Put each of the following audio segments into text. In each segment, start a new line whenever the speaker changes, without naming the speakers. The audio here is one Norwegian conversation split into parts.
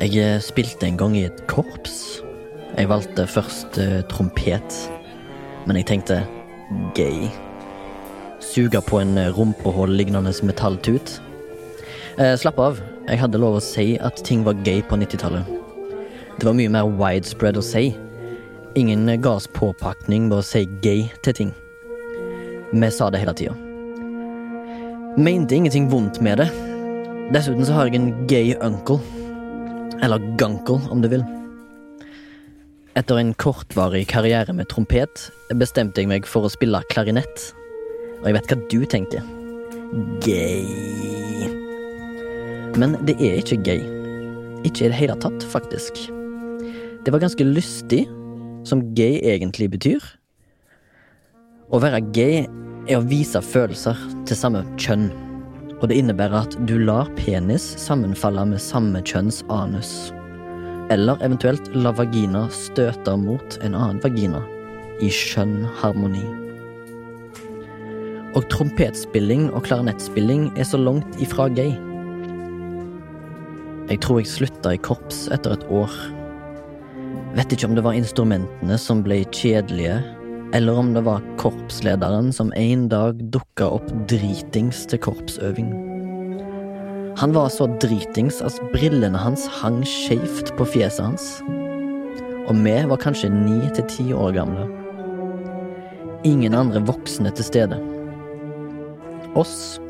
Jeg eh, spilte en gang i et korps. Jeg valgte først eh, trompet, men jeg tenkte gay. Suga på en rumpehull-lignende metalltut. Eh, slapp av, jeg hadde lov å si at ting var gay på 90-tallet. Det var mye mer widespread å si. Ingen ga oss påpakning med å si gay til ting. Vi sa det hele tida. Mente ingenting vondt med det. Dessuten så har jeg en gay uncle. Eller gankel, om du vil. Etter en kortvarig karriere med trompet bestemte jeg meg for å spille klarinett. Og jeg vet hva du tenker. Gay. Men det er ikke gay. Ikke i det hele tatt, faktisk. Det var ganske lystig, som gay egentlig betyr. Å være gay er å vise følelser til samme kjønn. Og det innebærer at du lar penis sammenfalle med samme kjønns anus. Eller eventuelt la vagina støte mot en annen vagina, i skjønn harmoni. Og trompetspilling og klarinettspilling er så langt ifra gay. Jeg tror jeg slutta i korps etter et år. Vet ikke om det var instrumentene som ble kjedelige, eller om det var korpslederen som en dag dukka opp dritings til korpsøving. Han var så dritings at brillene hans hang skjevt på fjeset hans. Og vi var kanskje ni til ti år gamle. Ingen andre voksne til stede. Oss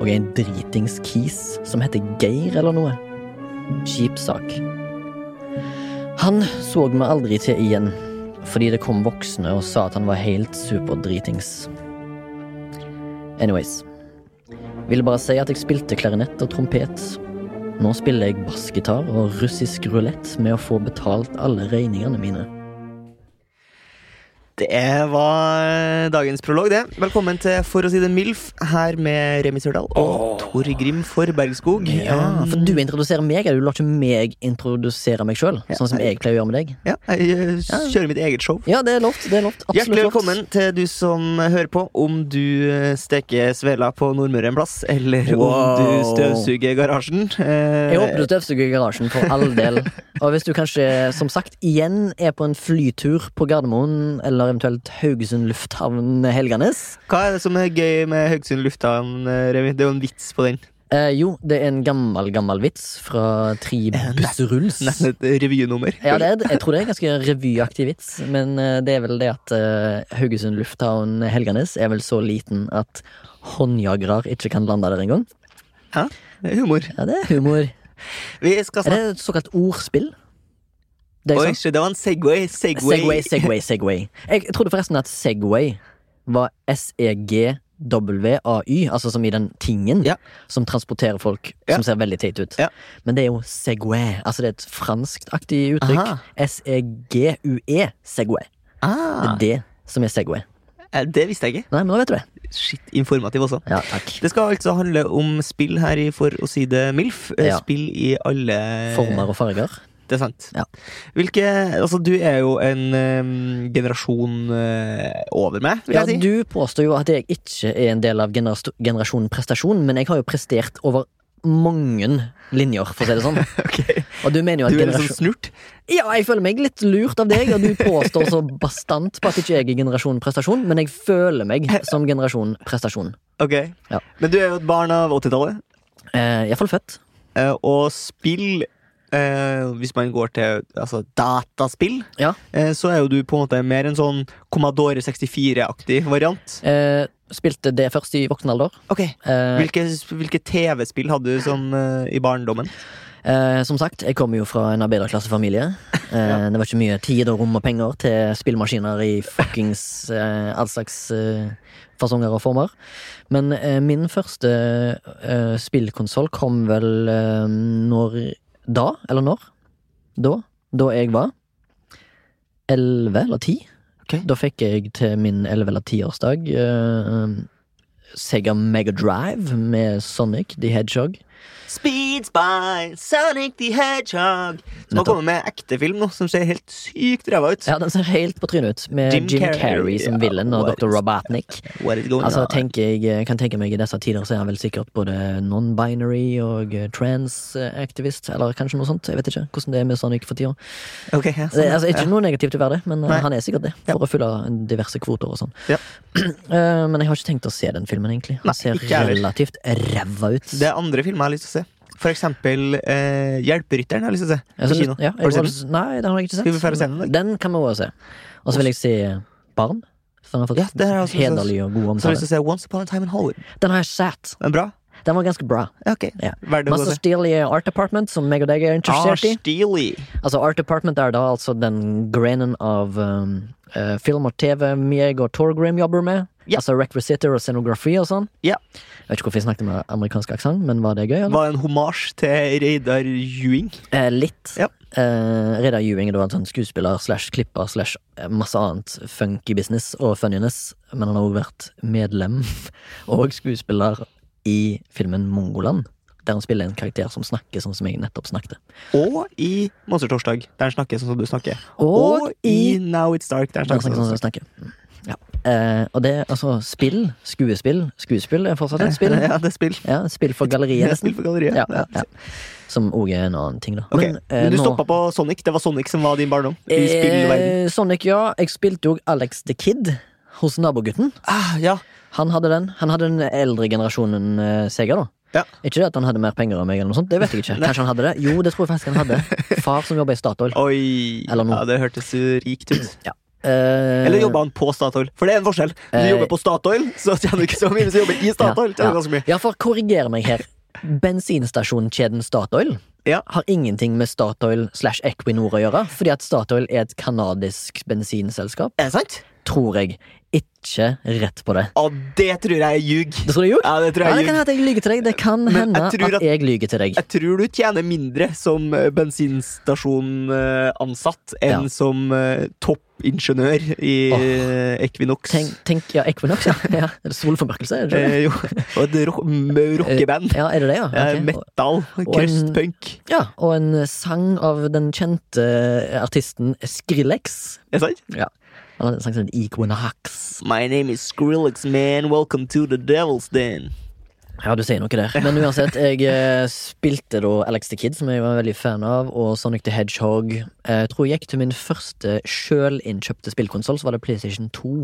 og en dritings kis som heter Geir eller noe. Kjip sak. Han så vi aldri til igjen fordi det kom voksne og sa at han var helt superdritings. Anyways. Ville bare si at jeg spilte klarinett og trompet. Nå spiller jeg bassgitar og russisk rulett med å få betalt alle regningene mine.
Det var eh, dagens prolog, det. Velkommen til For å si det MILF, her med Remi Sørdal og Tor Grim for Bergskog.
Ja,
Um,
for du introduserer meg, eller du lar ikke meg introdusere meg sjøl, sånn som jeg pleier å gjøre med deg.
ja, jeg eh, kjører mitt eget show.
Ja, det er lovt. Det er lovt. Absolutt
Hjertelig
lovt.
velkommen til du som hører på. Om du eh, steker svela på Nordmøre en plass, eller om
Wow.
du støvsuger garasjen. eh,
Jeg håper du støvsuger garasjen for all del. Og hvis du kanskje, som sagt, igjen er på en flytur på Gardermoen, eller eventuelt Haugesund lufthavn Helganes,
Hva er det som er gøy med Haugesund lufthavn, eh, Remi? Det er jo en vits på den.
Eh, jo, det er en gammel, gammel vits fra Tri bussrulls.
Nesten et revynummer.
Ja, det er, jeg tror det er en ganske revyaktig vits, men eh, det er vel det at eh, Haugesund lufthavn Helganes er vel så liten at håndjagere ikke kan lande der engang.
Ja, det er humor.
Ja, det er humor.
Vi
Er
skal snakke
det et såkalt ordspill? Det
Oi,
jeg sa?
shit, det var en Segway. Segway.
Segway, Segway, Segway. Jeg trodde forresten at Segway var E S-E-G-W-A-Y, altså som i den tingen
Ja.
som transporterer folk
Ja.
som ser veldig teit ut.
Ja.
Men det er jo Segway. Altså det er et franskaktig uttrykk. E
Aha.
S-E-G-U-E, E, Segway. Det
Ah,
er det som er Segway.
eh, det visste jeg ikke.
Nei, men nå vet du det.
Shit, informativ også.
Ja, takk.
Det skal altså handle om spill her i For å si det MILF. Eh,
Ja.
Spill i alle
Former og farger.
Det er sant.
Ja.
Hvilke Altså, du er jo en eh, generasjon eh, over meg, vil
Ja,
jeg si.
du påstår jo at jeg ikke er en del av generas generasjonen prestasjon, men jeg har jo prestert over mange linjer, for å si det sånn.
Ok.
Og du mener jo at
Du er litt
generasjon...
sånn snurt.
Ja, jeg føler meg litt lurt av deg, og du påstår så bastant på at ikke jeg er generasjon prestasjon, men jeg føler meg som generasjon prestasjon.
Ok.
Ja.
Men du er jo et barn av 80-tallet,
Eh, Iallfall født.
eh, og spill eh, Hvis man går til altså, dataspill,
Ja.
eh, så er jo du på en måte mer en sånn Commodore 64-aktig variant.
Eh, spilte det først i voksen alder.
Ok,
Eh,
Hvilke, hvilke TV-spill hadde du som, eh, i barndommen?
eh, som sagt, jeg kommer jo fra en arbeiderklassefamilie. Eh, Det var ikke mye tid og rom og penger til spillmaskiner i fuckings eh, all slags eh, fasonger og former. Men eh, min første eh, spillkonsoll kom vel eh, når Da, eller når? da, da jeg var elleve eller ti.
Ok.
Da fikk jeg til min elleve eller tiårsdag uh, Sega Mega Drive med Sonic the Hedgehog.
Speed by Sonic the Hedgehog. Skal
Nettopp.
komme med ekte film nå, som ser helt sykt ræva ut.
Ja, Den ser helt på trynet ut, med
Jim
Jim,
Carrey,
Carrey, som
ja,
villen og
what
Dr.
is-
Robotnik.
What is going
Altså,
on?
tenker jeg, kan tenke meg I disse tider så er han vel sikkert både non-binary og eh, trans-aktivist, eller kanskje noe sånt. Jeg vet ikke hvordan det er med Sonic for tida.
Ok,
Det,
ja, sånn,
er- altså,
ja.
ikke noe negativt til å være det, men eh,
Nei.
han er sikkert det.
Ja.
For å fylle diverse kvoter og sånn.
Ja.
Eh, men jeg har ikke tenkt å se den filmen, egentlig. Han
Nei,
ser
ikke heller.
relativt ræva ut.
Det er andre filmer jeg har lyst til å se. For eksempel eh, Hjelperytteren har jeg lyst til å se.
Jeg
På
synes-
kino.
ja,
har
jeg,
du sett den?
den? Nei, den har jeg ikke sett.
Skal vi færre se den, da?
Men den kan vi også se. Og så vil jeg si Barn. Som har fått
Ja, det har jeg også lyst til å-
hederlig og god
Så har jeg
omtale.
lyst til å se Once Upon a Time in Hollywood.
Den har jeg sett.
Men bra?
Den var ganske bra.
Ja, Ah, ok.
Ja.
Verdt å gå
Masse
og se.
stil i Art Department, som meg og deg er interessert i.
Ars Steely.
Altså Art Department er da altså den grenen av um, eh, film og TV meg og Torgrim jobber med.
Ja.
Altså requisitter og scenografi og sånn.
Ja.
Jeg vet ikke hvorfor jeg snakket med amerikansk aksent, men var det gøy? Eller?
Var det en homasj til Reidar Juing?
Eh, litt.
Ja.
Eh, Reidar Juing er da en sånn skuespiller slash klipper slash eh, masse annet funky business og funniness, men han har også vært medlem og skuespiller i filmen Mongoland, der han spiller en karakter som snakker sånn som jeg nettopp snakket.
Og i Monstertorsdag, der han snakker sånn som du snakker.
Og i
Now It's Dark, der han
Snakke,
snakker sånn som du snakker.
snakke, snakke. Ja. Eh, og det, altså, spill, skuespill Skuespill er fortsatt et spill.
Ja, det er spill.
Ja, spill for galleriet,
Det er spill
nesten.
for galleriet.
Ja, ja, ja. Som òg er en annen ting, da.
Ok,
Men, eh,
Men du
nå-
stoppa på Sonic. Det var Sonic som var din barndom. I spillverden.
Eh, Sonic, ja. Jeg spilte òg Alex the Kid hos nabogutten.
Ah, ja.
Han hadde den. Han hadde den eldre generasjonen eh, Sega, da.
Ja.
Ikke det at han hadde mer penger enn meg, eller noe sånt. Det vet jeg ikke. Kanskje han hadde det? Jo, det tror jeg faktisk han hadde. Far som jobba i Statoil.
Oi.
Eller noe.
Ja, det hørtes jo rikt ut.
Eh,
Eller jobba han på Statoil? For det er en forskjell. Hvis du
Eh,
jobber på Statoil, så tjener du ikke så mye. Hvis du jobber i Statoil, tjener du ganske mye.
Ja, for korriger meg her. Bensinstasjonkjeden Statoil
Ja.
har ingenting med Statoil slash Equinor å gjøre, fordi at Statoil er et kanadisk bensinselskap.
Er det sant?
Tror jeg. Ikke rett på det.
Å, det tror jeg er ljug.
Det tror jeg gjorde.
Ja, det tror
Ja, det
jeg er
kan
ljug.
hende at jeg lyver til deg. Det kan
Men
hende
jeg tror
at
at-
jeg lyger til deg.
Jeg tror du tjener mindre som eh, bensinstasjonansatt enn
Ja.
som eh, toppingeniør i eh, Equinox.
Tenk, tenk ja, Equinox, ja. ja. Er det solformørkelse? Er det ikke det?
Eh, jo, og et Eh, rock, m- rockeband.
Ja, er det det, ja?
Eh,
Ok. Og-
Metal. Crustpunk.
ja? Og en sang av den kjente artisten Skrillex.
Er det sant?
Han hadde en sang som het Equinox.
My name is Skrillex, man. Welcome to the Devil's Den.
Ja, du sier noe der. Men uansett, jeg eh, spilte da Alex the Kid, som jeg var veldig fan av, og Sonic the Hedgehog. Eh, Jeg tror jeg gikk til min første sjølinnkjøpte spillkonsoll, så var det PlayStation 2.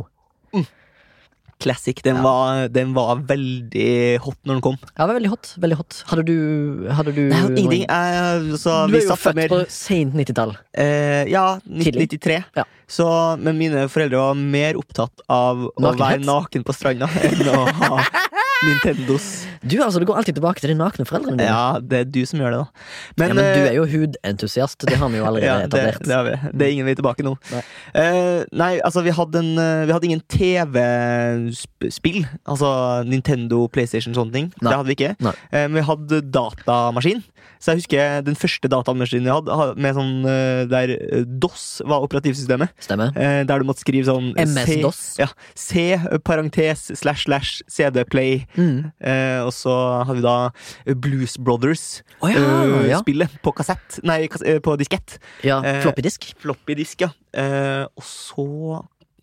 Classic. Den, var, den var veldig hot når den kom.
Ja, det var veldig hot. veldig hot Hadde du, hadde du
Nei, ingenting.
noen-
Jeg, Eh, så
Du
vi
er jo
satt
født
mer
på sent 90-tall.
eh, Ja, 1993.
Ja.
Så, men mine foreldre var mer opptatt av å være
Nakenhet?
naken på stranda enn å ha Nintendos.
Du altså, du går alltid tilbake til de nakne foreldrene dine.
Ja, det er du som gjør det, da.
Men, ja, men du
eh,
er jo hudentusiast. Det har vi jo allerede
ja, det,
etablert.
det, har vi. det er ingen vei tilbake nå.
Nei.
Eh, nei, altså, vi hadde, en, eh, vi hadde ingen TV-spill. Altså Nintendo, PlayStation, sånne ting.
Nei.
Det hadde vi ikke.
Nei.
Eh, men vi hadde datamaskin. Så jeg husker den første datamaskinen jeg hadde, ha- med sånn eh, der eh, DOS var operativsystemet.
Stemmer.
Eh, der du måtte skrive sånn eh, C-
MS-DOS.
Ja, C, eh, parentes, slash, slash, CD Play.
Mm.
Eh, og så hadde vi da eh, Blues Brothers-spillet
Å ja, ja.
på kassett. Nei, kas eh, på diskett.
ja.
Uh, eh,
Floppy disk.
Floppy disk, ja. Eh, og så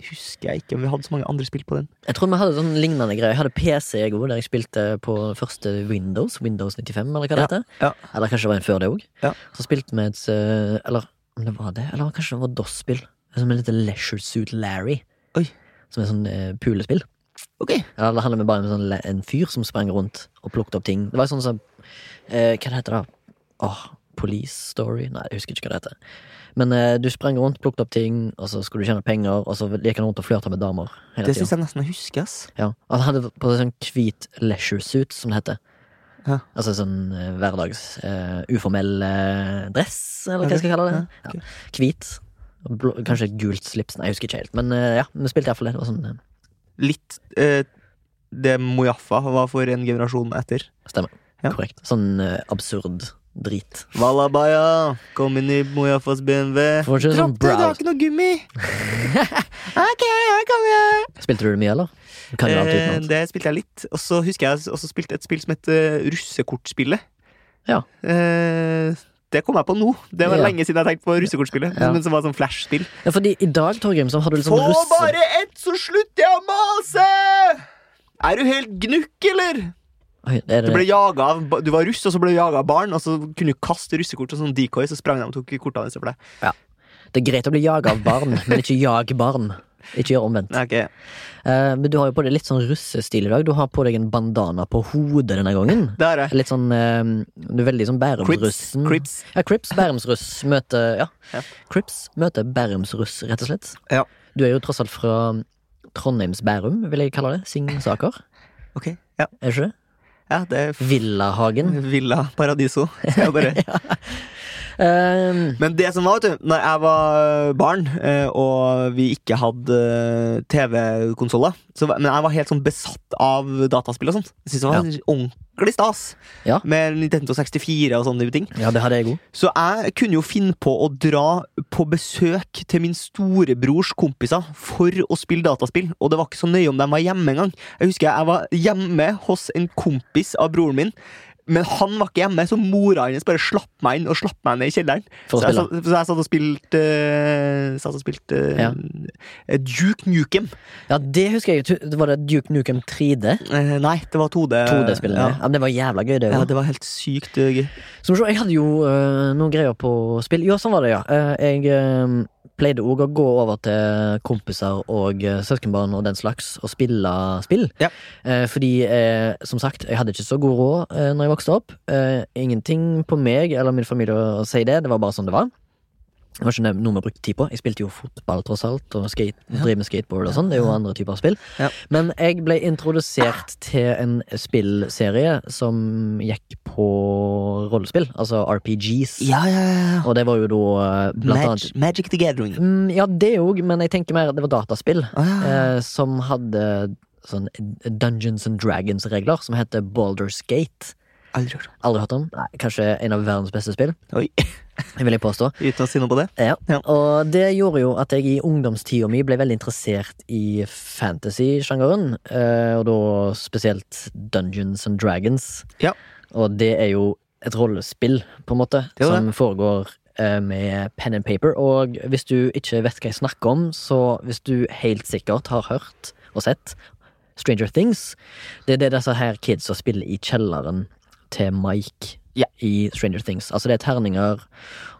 husker jeg ikke om vi hadde så mange andre spill på den.
Jeg tror vi hadde sånn lignende greier. Jeg hadde PC jeg også, der jeg spilte på første Windows. Windows 95, eller hva det heter.
ja.
Eller kanskje det var en før det òg.
Ja.
Så spilte vi et eh, Eller om det var det? Eller kanskje det var DOS-spill. Som heter Leisure Suit Larry.
Oi.
Som er sånn eh, pulespill.
Ok.
Ja, det handler bare om en, sånn, le- en fyr som sprang rundt og plukket opp ting. Det var sånn som eh, Hva det heter det? Åh, Police Story? Nei, jeg husker ikke hva det heter. Men eh, du sprang rundt, plukket opp ting, og så skulle du tjene penger, og så gikk han rundt og flørta med damer. hele
Det
tiden.
syns jeg nesten jeg husker. ass.
Ja, og han hadde på seg sånn hvit leisure suit, som det heter.
Ja.
Altså sånn eh, hverdags eh, uformell eh, dress, eller hva jeg skal kalle det. Ja, Hvit. og Blå, kanskje et gult slips. Nei, jeg husker ikke helt. Men eh, ja, vi spilte iallfall det. Det var sånn, eh,
Litt eh, det Mojaffa var for en generasjon etter.
stemmer.
Ja.
Korrekt. Sånn eh, absurd Drit.
Wallabaya, kom inn i Mojafas BMW.
Får ikke sånn
Dropp det, du har
brows.
ikke noe gummi! ok, jeg kommer!
Spilte du det mye, eller? Du Kan jo alt
Eh,
utenat.
det spilte jeg litt. Og så husker jeg også spilte et spill som het eh, Russekortspillet.
Ja.
Eh, det kom jeg på nå. Det var
Ja.
lenge siden jeg tenkte på russekortspillet.
Ja.
Men som var sånn flash-spill.
Ja, fordi i dag, Torgrim, så har du litt sånn russe...
ett, så slutter jeg å mase! Er du helt gnukk, eller?
Oi, er
Du, ble
det...
jaget av, ba- du var russ, og så ble du jaga av barn, og så kunne du kaste russekort og sånn decoy, så sprang de og tok kortene dine for deg.
det er greit å bli jaga av barn, men ikke jag barn. Ikke gjør omvendt.
Nei, ok.
Eh, men du har jo på deg litt sånn russestil i dag. Du har på deg en bandana på hodet denne gangen.
Det har jeg.
Litt sånn eh, Du er veldig sånn
Crips.
Bærumsrussen.
Crips.
Ja, Crips Bærumsruss møter Ja.
Ja.
Crips møter Bærumsruss, rett og slett.
Ja.
Du er jo tross alt fra Trondheims Bærum, vil jeg kalle det. Singsaker.
Ok, ja.
Er ikke det?
ja, det er f-
Villahagen.
Villa Paradiso. skal jeg bare
Eh,
Men det som var, vet du, når jeg var barn, eh, og vi ikke hadde eh, TV-konsoller så var- Men jeg var helt sånn besatt av dataspill og sånt. Jeg synes det var ordentlig stas.
Ja.
Med Nintendo 64 og sånne type ting.
ja, det hadde jeg òg.
Så jeg kunne jo finne på å dra på besøk til min storebrors kompiser for å spille dataspill, og det var ikke så nøye om de var hjemme engang. Jeg husker jeg var hjemme hos en kompis av broren min, men han var ikke hjemme, så mora hans bare slapp meg inn og slapp meg ned i kjelleren.
For å
så, jeg
spille.
satt, så jeg satt og spilte eh, satt og spilte eh, eh, Duke Nukem.
Ja, det husker jeg. jo. Det Var det Duke Nukem 3D?
Eh, nei, det var 2D.
2D-spillene. Ja.
Ja.
men det var jævla gøy, det.
ja,
jo.
det var helt sykt eh, gøy.
Skal vi se, jeg hadde jo øh, noen greier på spill. Jo, sånn var det, ja. Eh, jeg øh, pleide òg å gå over til kompiser og øh, søskenbarn og den slags og spille spill.
Ja.
Eh, fordi, eh, som sagt, jeg hadde ikke så god råd uh, når jeg vokste opp. Eh, ingenting på meg eller min familie å si det. Det var bare sånn det var. Det var ikke ne- noe vi brukte tid på. Jeg spilte jo fotball, tross alt, og skate, drev med skateboard og sånn. Det er jo andre typer spill.
Ja.
Men jeg ble introdusert til en spillserie som gikk på rollespill, altså RPGs.
Ja, ja, ja.
Og det var jo da eh, blant
Mag
annet
Magic the Gathering.
mm, Ja, det òg, men jeg tenker mer det var dataspill.
Ah, ja, ja.
Eh, som hadde sånn Dungeons and Dragons-regler, som heter Baldur's Gate.
Aldri hørt om.
Aldri hørt om? Nei, kanskje en av verdens beste spill,
Oi,
vil jeg påstå.
Uten å si noe på det.
Ja.
Ja.
og det gjorde jo at jeg i ungdomstida mi ble veldig interessert i fantasy-sjangeren, eh, og da spesielt Dungeons and Dragons.
Ja.
Og det er jo et rollespill, på en måte,
Det er jo
som foregår eh, med pen and paper. Og hvis du ikke vet hva jeg snakker om, så hvis du helt sikkert har hørt og sett Stranger Things, det er det disse her kidsa spiller i kjelleren til Mike
Ja.
i Stranger Things. Altså det er terninger,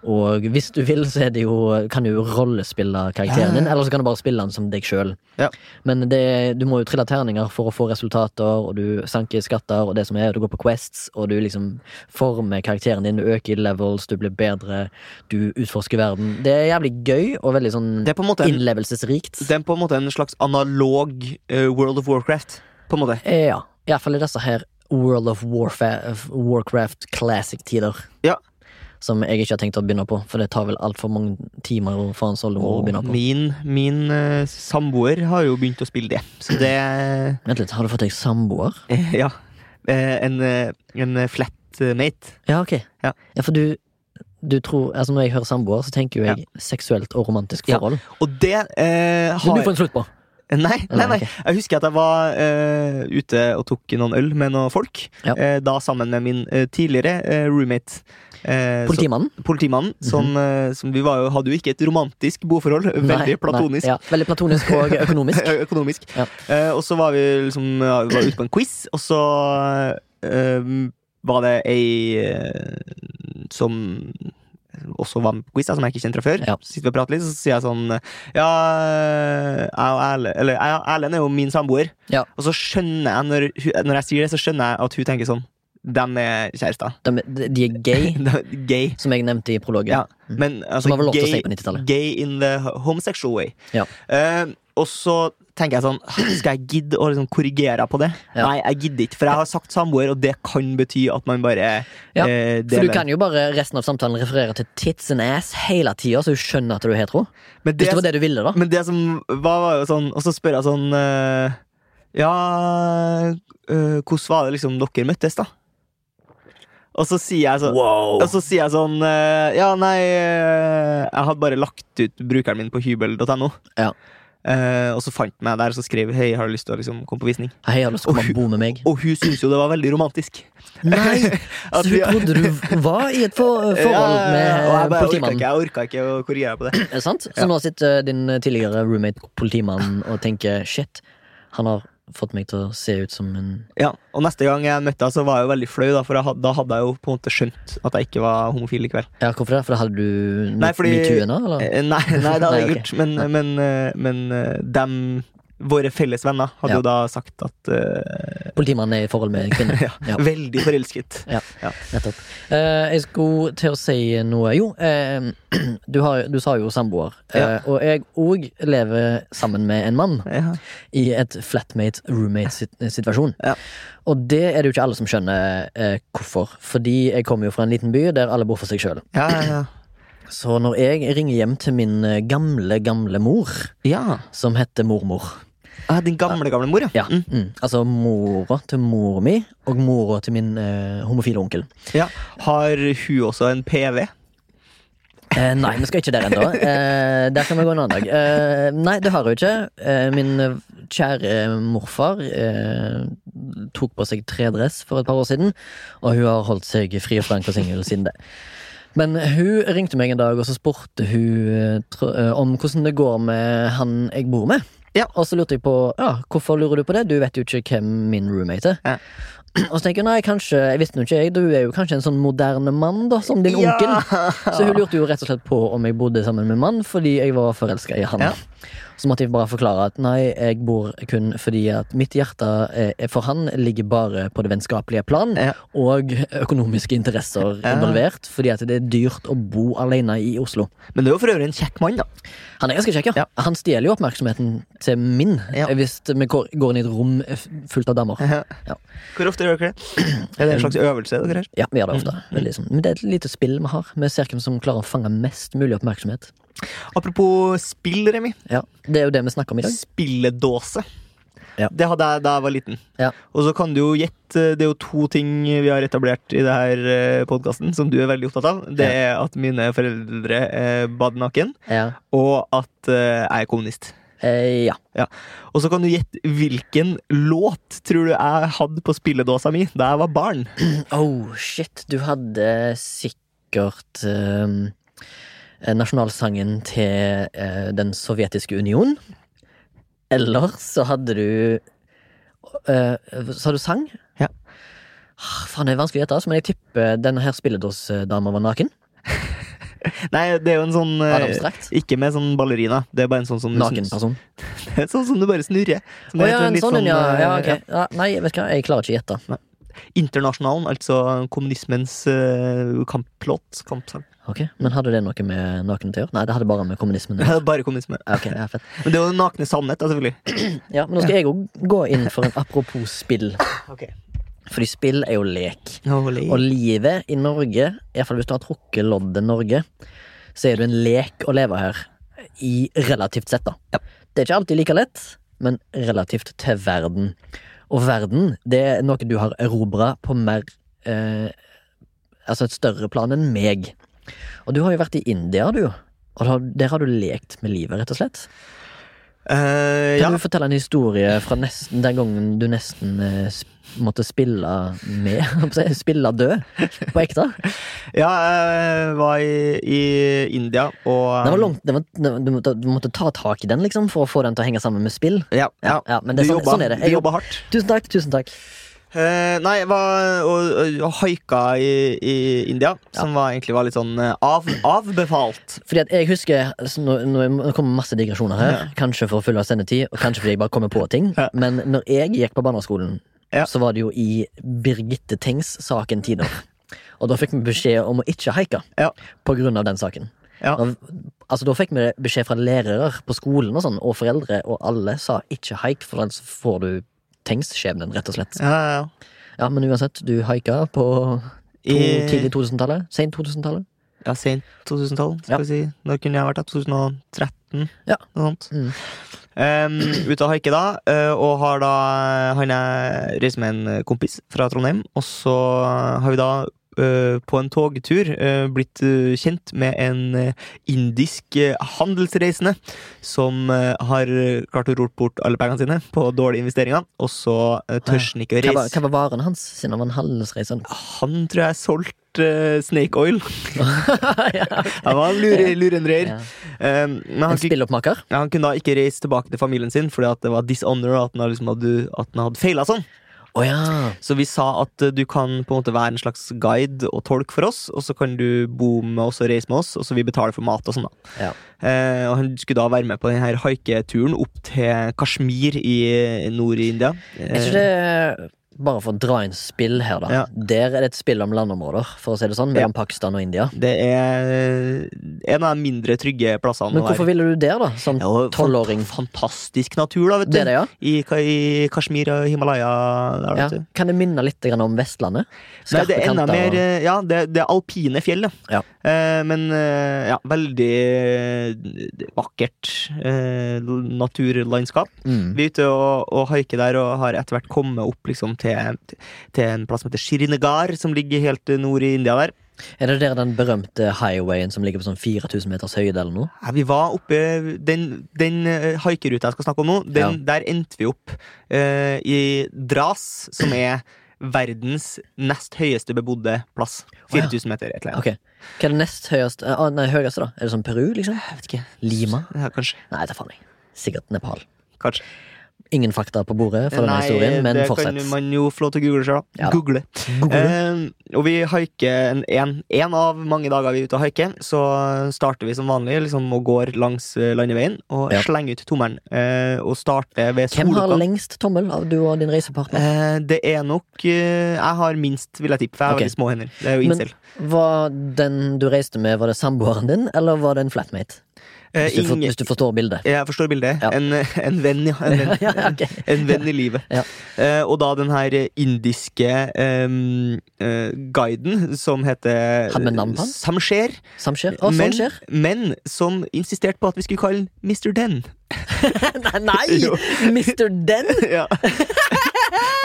og hvis du vil, så er det jo, kan du jo rollespille karakteren din, eller så kan du bare spille den som deg sjøl.
Ah. Ja.
Men det, du må jo trille terninger for å få resultater, og du sanker skatter og det som er, og du går på quests, og du liksom former karakteren din, du øker i levels, du blir bedre, du utforsker verden. Det er jævlig gøy, og veldig sånn
Det er på en måte en,
innlevelsesrikt.
det er på en, måte en slags analog eh, World of Warcraft. På en måte.
Eh, Ja, i hvert fall i disse her World of Warfa- Warcraft Classic-tider.
Ja.
Som jeg ikke har tenkt å begynne på, for det tar vel altfor mange timer og faen så lenge å
Og
begynne på.
min, min eh, samboer har jo begynt å spille det. Så det
Vent litt, har du fått deg samboer?
eh, Ja. Eh, en eh, en eh, flatmate.
Ja, ok.
Ja.
for du, du tror Altså, når jeg hører samboer, så tenker jo jeg seksuelt og romantisk
Ja.
forhold.
Og det eh,
Men
har
du får en slutt på!
Nei, nei, nei.
ok.
Jeg husker at jeg var eh, ute og tok noen øl med noen folk.
Ja.
Eh, da sammen med min eh, tidligere eh, roommate. Eh, så-
Politimannen.
Politimannen. Som, eh, som vi var jo, hadde jo ikke et romantisk boforhold.
Mhm. Nei,
Veldig platonisk.
Nei, ja, veldig platonisk og økonomisk.
Ø- Økonomisk.
Ja.
Eh, og så var vi liksom ja, vi var ute på en quiz, og så eh, var det ei eh, som også var med på quiz, da, som jeg ikke kjente fra før.
Ja.
Så sitter vi og prater litt, så sier jeg sånn Ja, jeg og Erlend Eller jeg og Erlend er jo min samboer.
Ja.
Og så skjønner jeg, når, hun- når jeg sier det, så skjønner jeg at hun tenker sånn Dem er kjærester.
De, de er gay,
De er Gay.
som jeg nevnte i prologen.
Ja, men altså,
Mm. Som var vel lov til å
gay-
si på 90-tallet.
Gay in the homosexual way.
Ja.
Eh, og så tenker jeg sånn Skal jeg gidde å liksom korrigere deg på det?
Ja.
Nei, jeg gidder ikke, for jeg har sagt samboer, og det kan bety at man bare
Ja,
eh,
For du
deler.
kan jo bare resten av samtalen referere til tits and ass hele tida, så hun skjønner at du er hetero.
men,
Hvis
det, Mm.
det var det du ville, da.
men det som var, var jo sånn Og så spør jeg sånn eh, Ja, eh, hvordan var det liksom dere møttes, da? Og så sier jeg sånn
Wow!
og så sier jeg sånn eh, Ja, nei, eh, jeg hadde bare lagt ut brukeren min på hybel.no.
Ja.
Eh, og så fant hun meg der og så skrev Hei, har du lyst til å liksom, komme på visning.
Hei, har du lyst til å komme og bo med meg?
Og hun syntes jo det var veldig romantisk.
Nei!
At
Så hun
vi-
trodde du var i et for
Ja, ja,
forhold
ja, og jeg
med
bare orka ikke,
politimannen?
jeg orket ikke å korrigere på det.
Er det sant? Så nå sitter eh, din tidligere roommate politimannen og tenker shit, han har fått meg til å se ut som en
Ja, Og neste gang jeg møtte henne, så var jeg jo veldig flau, da, for jeg, had- da hadde jeg jo på en måte skjønt at jeg ikke var homofil likevel.
Ja, hvorfor det? For da hadde du
Nei, fordi-
metoo ennå, eller?
Eh, Nei, nei, det hadde jeg
Nei, ok.
ikke gjort. Men, men, eh, men eh, dem, våre felles venner, hadde
Ja.
jo da sagt at eh,
Politimannen er i forhold med en kvinne.
ja,
Ja.
Veldig forelsket.
Nettopp. Eh, jeg skulle til å si noe Jo, eh, du, har, du sa jo samboer. Eh, og jeg òg lever sammen med en mann
Ja.
i et flatmate-roommate-situasjon.
Ja.
eh, Og det er det jo ikke alle som skjønner eh, hvorfor. Fordi jeg kommer jo fra en liten by der alle bor for seg sjøl.
Ja, ja, ja.
Så når jeg ringer hjem til min eh, gamle, gamle mor,
ja.
som heter mormor
Ah, din gamle, gamle mor,
Ja, mm. Altså mora til mor mi og mora til min eh, homofile onkel.
ja. Har hun også en PV?
Eh, nei, vi skal ikke der ennå. Eh, der kan vi gå en annen dag. Eh, nei, det har jeg jo ikke. Eh, min eh, kjære morfar eh, tok på seg tredress for et par år siden, og hun har holdt seg fri og slank og singel siden det. Men hun ringte meg en dag, og så spurte hun eh, tro- eh, om hvordan det går med han jeg bor med.
Ja.
Og så lurte jeg på ja, hvorfor lurer du på det, du vet jo ikke hvem min roommate er.
Ja.
Og så tenker jeg nei, kanskje, jeg visste nå ikke jeg, du er jo kanskje en sånn moderne mann, da, som din
Ja.
onkel. Så hun lurte jo rett og slett på om jeg bodde sammen med mann fordi jeg var forelska i han.
Ja.
Så måtte jeg bare forklare at nei, jeg bor kun fordi at mitt hjerte eh, for han ligger bare på det vennskapelige plan,
Ja.
og økonomiske interesser
Ja.
involvert, fordi at det er dyrt å bo alene i Oslo.
Men det er jo for øvrig en kjekk mann, da.
Han er ganske kjekk, ja. Han stjeler jo oppmerksomheten til min
Ja.
hvis vi går går inn i et rom eh, f- fullt av damer. Ja.
Hvor ofte gjør dere det? Er det en slags øvelse dere gjør?
Ja, vi gjør det ofte.
Mm.
Veldig sånn. Men det er et lite spill vi har. Vi ser hvem som klarer å fange mest mulig oppmerksomhet.
Apropos spill, Remi.
Ja, Det er jo det vi snakker om i dag.
Spilledåse.
Ja.
Det hadde jeg da jeg var liten.
Ja.
Og så kan du jo gjette Det er jo to ting vi har etablert i det her podkasten som du er veldig opptatt av. Det er at mine foreldre er badnaken,
Ja.
og at eh, jeg er kommunist.
Eh, ja.
Og så kan du gjette hvilken låt tror du jeg hadde på spilledåsa mi da jeg var barn.
Oh, shit. Du hadde sikkert ehm, eh, nasjonalsangen til eh, Den sovjetiske union. Eller så hadde du eh, Så hadde du sang.
Ja.
Ah, Faen, det er vanskelig å gjette, altså, men jeg tipper denne her spilledåsdama var naken.
Nei, det er jo en sånn eh,
Var det abstrakt?
Ikke med sånn ballerina. Det er bare en sånn som du,
Naken person.
snur- sånn som du bare snurrer. Som
Å
er
ja,
sånn
en
litt
sånn en, ja.
eh,
ja, ok. ja. Nei, vet du hva, jeg klarer ikke å gjette.
Internasjonalen, altså kommunismens eh, kamplåt. Kampsang.
Ok, Men hadde det noe med nakenhet å gjøre? Nei, det hadde bare med kommunismen å gjøre.
Bare kommunisme.
Ja, ok, ja, fett.
Men det er jo den nakne sannhet, da, selvfølgelig.
Ja, men nå skal jeg òg gå inn for en apropos spill.
Okay.
Fordi spill er jo lek. Og
Og,
livet i Norge, iallfall hvis du har trukket loddet Norge, så er det en lek å leve her. I relativt sett, da. Det er ikke alltid like lett, men relativt til verden. Og verden, det er noe du har erobra på mer eh, Altså et større plan enn meg. Og du har jo vært i India, du. Og da- der har du lekt med livet, rett og slett.
Eh, ja.
Kan du fortelle en historie fra nesten den gangen du nesten eh, sp- måtte spille med? holdt på å si, Spille død? På ekte?
ja, jeg var i, i India, og
Den var langt, den var, den, du, måtte, du måtte ta tak i den liksom for å få den til å henge sammen med spill.
eh, Ja, ja.
Ja, men det er
du
sånn,
jobba,
sånn er det.
du
Jeg,
jobba hardt.
tusen takk. tusen takk
Eh, nei, jeg var og, og, og haika i, i India, som var, egentlig var litt sånn eh, av, avbefalt.
Fordi at jeg husker altså, Nå, nå nå kommer masse digresjoner her. Kanskje for å fylle av sendetid, og kanskje fordi jeg bare kommer på ting.
Ja.
Men når jeg gikk på barneskolen,
Ja.
så var det jo i Birgitte Tengs saken Tider. Og da fikk vi beskjed om å ikke haike
Ja.
på grunn av den saken.
Ja.
Da, altså, da fikk vi beskjed fra lærere på skolen og sånn, og foreldre, og alle sa ikke haik, for ellers får du Tengs-skjebnen, rett og slett.
Ja, ja, ja.
Ja, men uansett, du haika på to,
I-
tidlig 2000-tallet? Sent 2000-tallet?
Ja, sent 2012, skal
Ja.
vi si. Når kunne jeg vært da? 2013?
Ja.
Noe sånt.
Mm.
Um, ute og haike da, eh, og har da han jeg reiser med en kompis fra Trondheim, og så har vi da eh, på en togtur eh, blitt eh, kjent med en eh, indisk eh, handelsreisende som eh, har eh, klart å rope bort alle pengene sine på dårlige investeringer, og så eh, tør han ikke å
Hva, var-
reise.
hva var varen hans, siden han var en handelsreise?
Han tror jeg solgte eh, Snake Oil.
ja.
Han var en lure, lurendreier.
Ja.
Eh, Men han
En
fikk
spilloppmaker?
ja, han kunne da ikke reise tilbake til familien sin fordi at det var dishonor at han liksom hadde, at han hadde feila sånn.
Å ja.
Så vi sa at eh, du kan på en måte være en slags guide og tolk for oss, og så kan du bo med oss og reise med oss, og så vi betaler for mat og sånn, da.
Ja.
Eh, og han skulle da være med på denne haiketuren opp til Kashmir i nord i India.
Er ikke
Eh,
det Bare for å dra inn spill her, da.
Ja.
Der er det et spill om landområder, for å si det sånn, mellom Pakistan og India.
Ehm, det er en av de mindre trygge plassene
Men hvorfor ville du der, da? Som
Ja, og fant-
tolvåring?
Fantastisk natur, da, vet du.
Det er det, ja.
I, Ka- I Kashmir og Himalaya. Der,
ja.
vet du.
Kan det minne litt grann om Vestlandet?
Nei, det
Skarpe
er enda
kanter
mer
og
eh, Ja, det, det er alpine fjell, da.
Ja.
Eh, men eh, ja, veldig eh, vakkert eh, naturlandskap.
mm.
Vi er ute og, og haiker der og har etter hvert kommet opp liksom, til, til en plass som heter Shirinagar, som ligger helt eh, nord i India der.
Er det der den berømte highwayen som ligger på sånn 4000 meters høyde eller noe?
Ja, vi var oppe Den, den eh, haikeruta jeg skal snakke om nå, den, der endte vi opp eh, i Dras, som er verdens nest høyeste bebodde plass.
Å, ja.
4000 meter, et eller annet.
Ok. Hva er det nest høyeste eh, ah, Nei, høyeste, da? Er det sånn Peru, liksom?
Jeg vet ikke.
Lima?
Ja, kanskje.
Nei, det er faen jeg. Sikkert Nepal.
Kanskje.
Ingen fakta på bordet for denne
Nei,
historien, men
det
fortsett.
kan man jo få lov til å google sjøl, da.
Ja da.
Google.
Google.
Eh, og vi haiker en, en, en av mange dager vi er ute og haiker. Så starter vi som vanlig liksom, og går langs eh, landeveien og
Ja.
slenger ut tommelen. eh, og starter ved
Hvem har
Solukka.
lengst tommel av du og din reisepartner?
Eh, det er nok eh, Jeg har minst, vil jeg tippe, for jeg har
Ok.
veldig små hender. Det er jo
Men-
incel.
Var den du reiste med, var det samboeren din, eller var det en flatmate?
Eh,
Hvis du, for,
ingen-
hvis du forstår bildet.
jeg forstår bildet.
Ja.
En, en venn, ja. En venn.
ja, ok.
En venn i livet.
Ja.
Eh, og da den her indiske em, eh, guiden som heter
Han med navn på han?
Samsher,
Samskjer? Å, sånn
men,
skjer?
men som insisterte på at vi skulle kalle han Mr. Den.
Nei, nei!
Jo.
Mr. Den!
ja.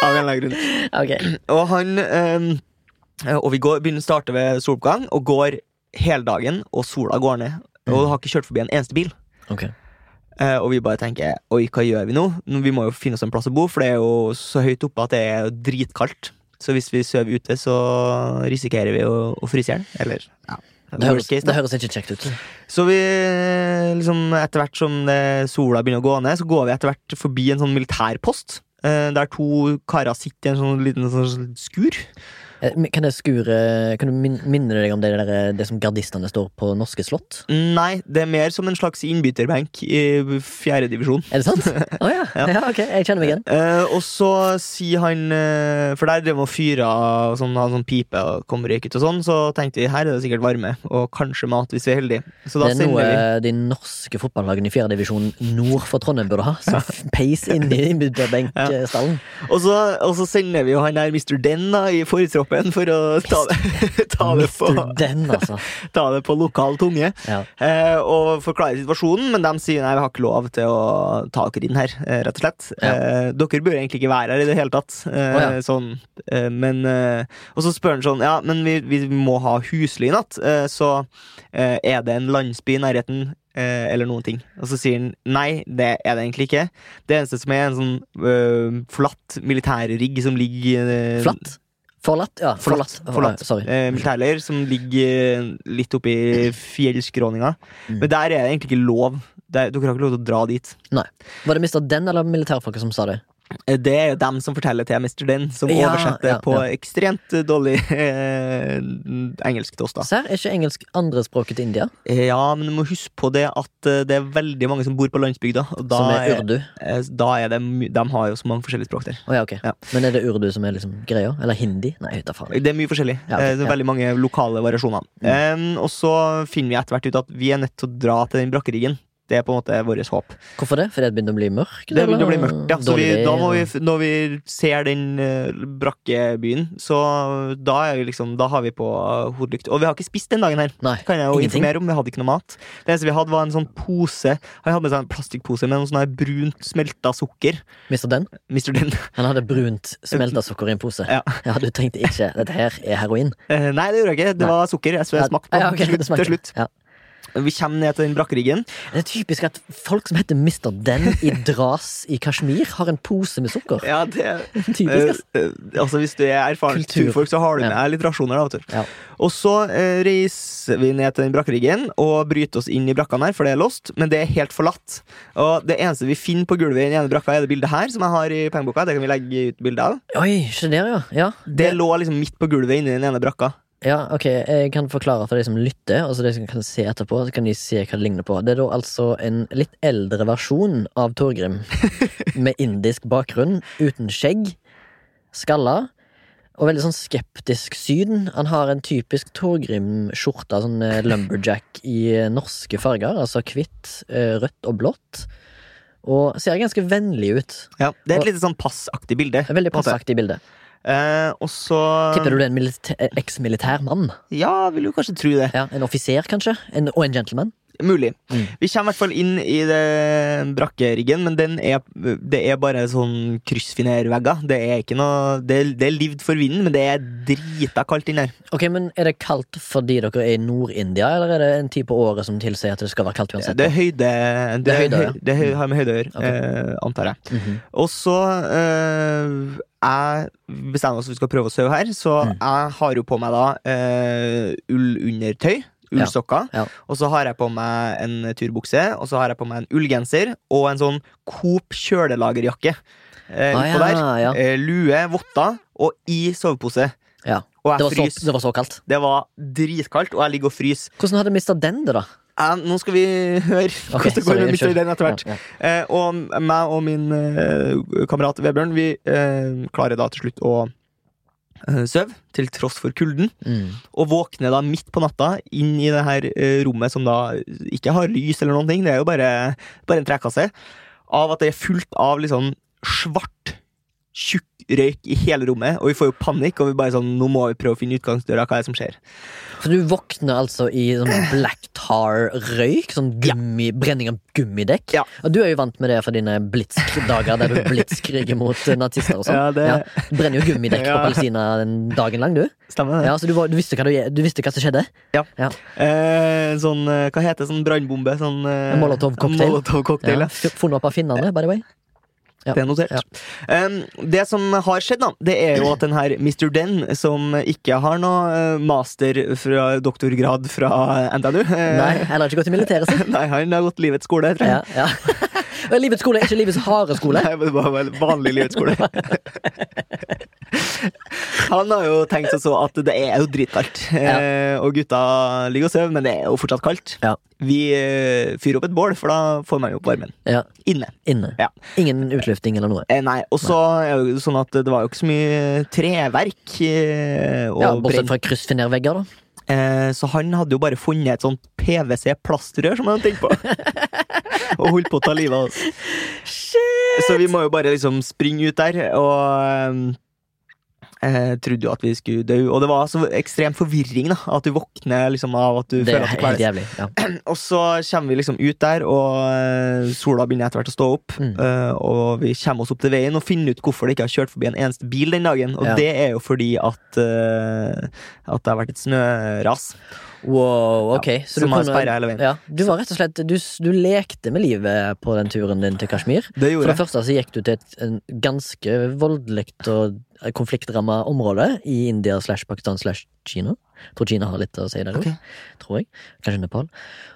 Av en eller annen grunn.
Ok.
Og han em, eh, Og vi går, begynner å starte ved soloppgang og går hele dagen, og sola går ned.
Mm.
Og har ikke kjørt forbi en eneste bil.
Ok.
Eh, og vi bare tenker oi, hva gjør vi nå? Nå- Vi må jo finne oss en plass å bo, for det er jo så høyt oppe at det er jo dritkaldt. Så hvis vi sover ute, så risikerer vi å, å fryse i hjel. Eller ja.
Det høres,
worst case,
det
da.
høres ikke kjekt ut.
Så vi eh, liksom etter hvert som det, sola begynner å gå ned, så går vi etter hvert forbi en sånn militærpost. eh, Der to karer sitter i en sånn liten sånn skur.
Eh, men Kan jeg skure Kan du min- minne deg om det, der, eh, det som gardistene står på norske slott?
Nei, det er mer som en slags innbytterbenk i fjerde divisjon.
Er det sant? Å ja.
Ja.
ja. Ok, jeg kjenner meg igjen.
Eh, og så sier han eh, For der drev han og fyra og sånn, hadde sånn pipe og kom røyk ut og sånn, så tenkte vi her er det sikkert varme og kanskje mat hvis vi er heldige. Så da
Det er
sender
noe eh, de norske fotballagene i fjerdedivisjon nord for Trondheim burde ha. Som f- peis inn i innbytterbenkstallen.
vi og så, og så sender vi jo han der Mr. Den da i fortroppen for å ta det, ta det, på,
Mr. Den, altså.
ta det på lokal tunge.
Ja.
Eh, og forklare situasjonen, men de sier nei, vi har ikke lov til å ta dere inn her, eh, rett og slett.
Ja.
Eh, dere bør egentlig ikke være her i det hele tatt. Eh,
Å, ja.
sånn, eh, men, eh, og så spør han sånn, ja, men vi, vi må ha husly i natt, eh, så eh, er det en landsby i nærheten? Eh, eller noen ting. Og så sier han nei, det er det egentlig ikke. Det eneste som er, er en sånn eh, flatt militærrigg som ligger eh,
Flatt? Forlatt? Ja, forlatt.
Forlatt.
Sorry.
eh, militærleir som ligger eh, litt oppi fjellskråninga.
Mm.
Men der er det egentlig ikke lov. Der, dere har ikke lov til å dra dit.
Var det Mr. Den eller militærfolket som sa det?
Eh, Det er jo dem som forteller til Mr. Den, som
Ja,
oversetter
ja,
på
ja.
ekstremt eh, dårlig eh, engelsk til oss, da.
Se her, er ikke engelsk andrespråket til India?
Eh, Ja, men du må huske på det at eh, det er veldig mange som bor på landsbygda. Og da
som er
er,
urdu?
eh, da er det my- De har jo så mange forskjellige språk der.
Å ja, ok.
Ja.
Men er det urdu som er liksom greia? Eller hindi? Nei, da faen.
Det er mye forskjellig.
Ja, ok,
Eh, det
ja.
er
Mm.
Veldig mange lokale variasjoner. Eh, og så finner vi etter hvert ut at vi er nødt til å dra til den brakkeriggen. Det er på en måte vårt håp.
Hvorfor det? Fordi det begynner å bli mørkt?
Det begynner å
eller?
bli mørkt, ja. Så vi,
Dårlig vei,
da må vi,
eller?
f- når vi ser den eh, brakke byen, så da, er vi liksom, da har vi på hodelykt. Og vi har ikke spist den dagen her.
Nei,
Kan jeg jo
ingenting.
informere om, Vi hadde ikke noe mat. Det eneste vi hadde, var en sånn pose. Han hadde med seg en plastikkpose med noe sånn her brunt smelta sukker.
Mista den?
Mister den.
Han hadde brunt smelta sukker i en pose.
Ja.
du tenkte ikke dette her er heroin?
Eh, Nei, det gjorde jeg ikke. Det
Nei.
var sukker. Jeg, så jeg smakte på
Ja, ok,
til
det
slutt-
smakte.
til slutt.
Ja.
Vi kommer ned til den brakkeriggen.
Det er typisk at folk som heter Mr. Den i Dras i Kashmir, har en pose med sukker.
Ja, det
Typisk, ass.
Eh, eh, altså Hvis du er erfaren
Kultur.
turfolk, så har du
Ja.
med deg litt rasjoner. da, vet du.
Ja.
Og så eh, reiser vi ned til den brakkeriggen og bryter oss inn i brakkene her, for det er lost, men det er helt forlatt. Og det eneste vi finner på gulvet i den ene brakka, er det bildet her, som jeg har i pengeboka. Det kan vi legge ut bilde av.
Oi, se der, ja. ja.
Det lå liksom midt på gulvet inni den ene brakka.
Ja, ok, jeg kan forklare for de som lytter, og så de som kan se etterpå, så kan de se hva det ligner på. Det er da altså en litt eldre versjon av Torgrim, med indisk bakgrunn, uten skjegg, skalla, og veldig sånn skeptisk syn. Han har en typisk Torgrim-skjorta, sånn eh, lumberjack i eh, norske farger, altså hvitt, eh, rødt og blått, og ser ganske vennlig ut.
Ja, Det er
Og-
et lite sånn passaktig bilde.
Et Veldig
på en måte.
passaktig bilde.
Eh, og så
Tipper du det er en milita- eh, eks-militær mann?
Ja, vil du kanskje tro det.
Ja, en offiser, kanskje? En, og en gentleman?
Mulig.
Mm.
Vi kommer i hvert fall inn i det brakkeriggen, men den er, det er bare sånn kryssfinervegger. Det er ikke noe Det, er- det er livd for vinden, men det er drita kaldt inn her.
Ok, men Er det kaldt fordi dere er i Nord-India, eller er det en tid på året som tilsier at det skal være kaldt uansett?
Det er høyde Det,
Det er høyde,
høy-
ja.
det er høy- har med høyde å gjøre,
Ok.
eh, antar jeg.
Mhm.
Og så eh, Jeg bestemmer oss for at vi skal prøve å sove her, så
Mm.
jeg har jo på meg da eh, ullundertøy. Ullsokker.
Ja, ja.
Og så har jeg på meg en turbukse, og så har jeg på meg en ullgenser og en sånn Coop kjølelagerjakke. Eh,
Ah,
utpå der.
ja, ja.
Eh, lue, votter og i sovepose.
Ja.
Og
Det, var
jeg
så,
fryser.
det var så kaldt.
Det var dritkaldt, og jeg ligger og fryser.
Hvordan hadde mista den det, da?
Eh, nå skal vi høre
Ok,
hvordan det går
sorry,
med Mr.
unnskyld.
Den etter hvert.
Ja, ja.
Eh, og meg og min eh, kamerat Vebjørn Vi eh, klarer da til slutt å eh, sove, til tross for kulden.
Mm.
Og våkner da midt på natta inn i det her eh, rommet som da ikke har lys eller noen ting. Det er jo bare, bare en trekasse. Av at det er fullt av liksom svart, tjukk røyk i hele rommet. Og vi får jo panikk, og vi bare sånn Nå må vi prøve å finne utgangsdøra. Hva er det som skjer?
For du våkner altså i sånn black tar-røyk? Sånn gummi, brenning av gummidekk?
Ja.
Og du er jo vant med det fra dine blitzkrigsdager, der du blitzkriger mot eh, nazister og sånn.
Ja, det-
Du brenner jo gummidekk på
Ja.
Palestina den dagen lang, du.
Stemmer det?
Ja, Så du, var, du, visste, hva du, du visste hva som skjedde?
Eh, en sånn, eh, hva heter det, sånn brannbombe? Sånn, eh,
En Molotov-cocktail.
Molotov-cocktail,
Ja.
ja.
Funnet opp av finnene, by the way. Ja.
Det er notert. Um, det som har skjedd, da, det er jo at den her Mr. Den, som ikke har noe eh, master fra doktorgrad fra NTNU eh,
Nei, eller har ikke gått i militæret, si.
Nei, han har gått livets skole, tror jeg.
Ja, ja. Og livets skole er ikke livets harde skole.
Nei, men det var vel vanlig livets skole. Han har jo tenkt seg så at det er jo dritkaldt, eh, og gutta ligger og sover, men det er jo fortsatt kaldt.
Ja.
Vi eh, fyrer opp et bål, for da får man jo opp varmen.
Ja,
Inne.
inne.
Ja.
Ingen utlufting eller noe.
Eh, nei, og så er det jo sånn at det var jo ikke så mye treverk eh, og
Ja,
brent
bortsett fra kryssfinervegger, da.
Eh, Så han hadde jo bare funnet et sånt PVC-plastrør som han hadde tenkt på. og holdt på å ta livet av oss. Så vi må jo bare liksom springe ut der, og eh, trodde jo at vi skulle dø. Og det var så ekstrem forvirring, da. At du våkner liksom av at du
Det er
føler at du
helt
klarer
jævlig. Ja.
Og så kommer vi liksom ut der, og eh, sola begynner etter hvert å stå opp.
Mm.
eh, og vi kommer oss opp til veien og finner ut hvorfor det ikke har kjørt forbi en eneste bil den dagen. Og
Ja.
det er jo fordi at, eh, at det har vært et snøras.
Wow, ok. Så du,
Som har
kunne-
sperret hele veien.
ja, du var rett og slett du, s- du lekte med livet på den turen din til Kashmir.
Det
For
gjorde
det
jeg.
første så gikk du til et en ganske voldelig og konfliktramma område i India slash Pakistan slash Kina. Jeg tror Kina har litt å si der òg.
Ok.
Tror jeg. Kanskje Nepal.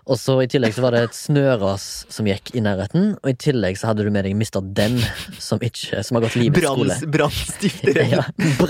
Og så i tillegg så var det et snøras som gikk i nærheten, og i tillegg så hadde du med deg Mr. Den, som, ikke, som har gått livets skole.
Branns- Brannstifter.
Ja,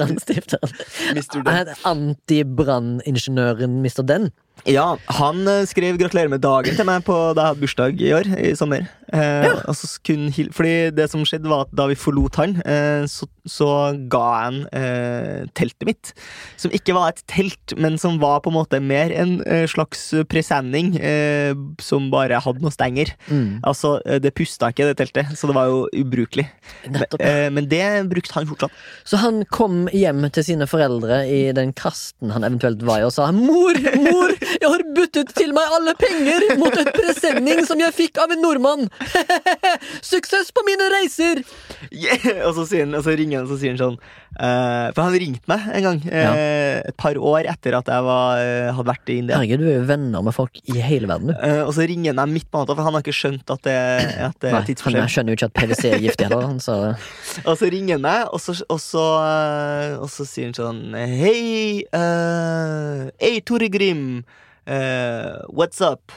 Brannstifteren.
Mr. Den.
Han het antibranningeniøren Mr. Den.
Ja, han eh, skrev 'Gratulerer med dagen' til meg på da jeg hadde bursdag i år. i sommer Eh, og så skulle han hil- Fordi det som skjedde, var at da vi forlot han, eh, så, så ga jeg han eh, teltet mitt. Som ikke var et telt, men som var på en måte mer en eh, slags presenning eh, som bare hadde noen stenger.
Mm.
Altså, eh, det pusta ikke, det teltet, så det var jo ubrukelig.
Nettopp.
Eh, men det brukte han fortsatt.
Så han kom hjem til sine foreldre i den kasten han eventuelt var i, og sa Mor, mor, jeg har byttet til meg alle penger mot et presenning som jeg fikk av en nordmann. Suksess på mine reiser!
Yeah! Og, så sier han, og så ringer han og så sier han sånn eh, For han ringte meg en gang, eh, et par år etter at jeg var, eh, hadde vært i India.
Herregud, du er jo venner med folk i hele verden, du.
Eh, og så ringer han meg midt på natta, for han har ikke skjønt at det, at det
Nei,
er
han
tidsforskjell.
skjønner jo ikke at PwC er giftig heller, han, så
Og så ringer han meg, og så, og så, eh, og så sier han sånn Hei, eh, hei Tore Grim, eh, what's up?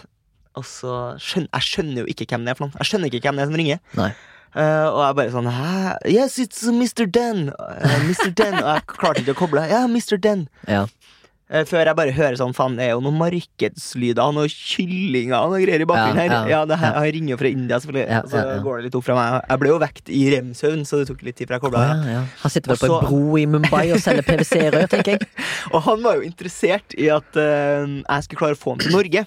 Og så skjønner jeg skjønner jo ikke hvem det er for noen. Jeg skjønner ikke hvem det er som ringer.
Nei.
Eh, og jeg bare sånn Hæ? Yes, it's Mr. Den. Eh, Mr. Den. Og jeg klarte ikke å koble. Ja, Mr. Den.
ja.
Eh, Før jeg bare hører sånn, faen, det er jo noen markedslyder og noen kyllinger og noe greier i bakgrunnen
Ja,
her.
ja,
Ja, det her, Han ringer jo fra India, selvfølgelig.
Ja,
og så
ja, ja.
går det litt opp fra meg. Jeg ble jo vekt i rem-søvn, så det tok litt tid fra jeg kobla.
Å,
av.
ja, ja. Han sitter vel på
Og så-
en bro i Mumbai og selger PwC-rør, tenker jeg.
Og han var jo interessert i at eh, jeg skulle klare å få ham til Norge.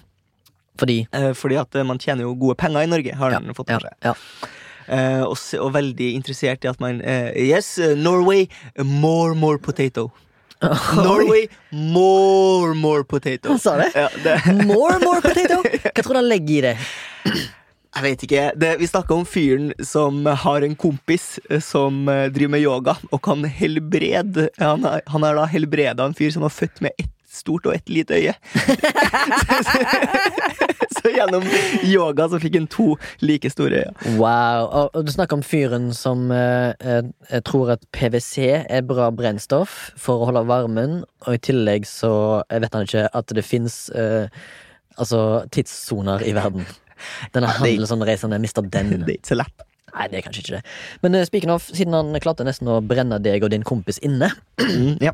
Fordi
eh, fordi at eh, man tjener jo gode penger i Norge, har han fått
ja,
med seg.
ja.
Eh, og, s- og veldig interessert i at man eh, Yes, eh, Norway, more, more potato. Norway, more, more potato.
Han sa det?
Ja, det
More, more potato! Hva tror du han legger i det?
Jeg vet ikke. Det, vi snakka om fyren som har en kompis eh, som eh, driver med yoga og kan helbrede Han har, han har da helbreda en fyr som var født med ett stort og ett lite øye. så, gjennom yoga så fikk han to like store øyne.
Wow. Og- Og du snakker om fyren som eh, eh, tror at PwC er bra brennstoff for å holde varmen, og i tillegg så vet han ikke at det fins eh, altså, tidssoner i verden. Denne
det-
handelsreisende mister den.
Det er ikke så lett.
Nei, det er kanskje ikke det. Men uh, speaking of, siden han klarte nesten å brenne deg og din kompis inne,
Mm, ja.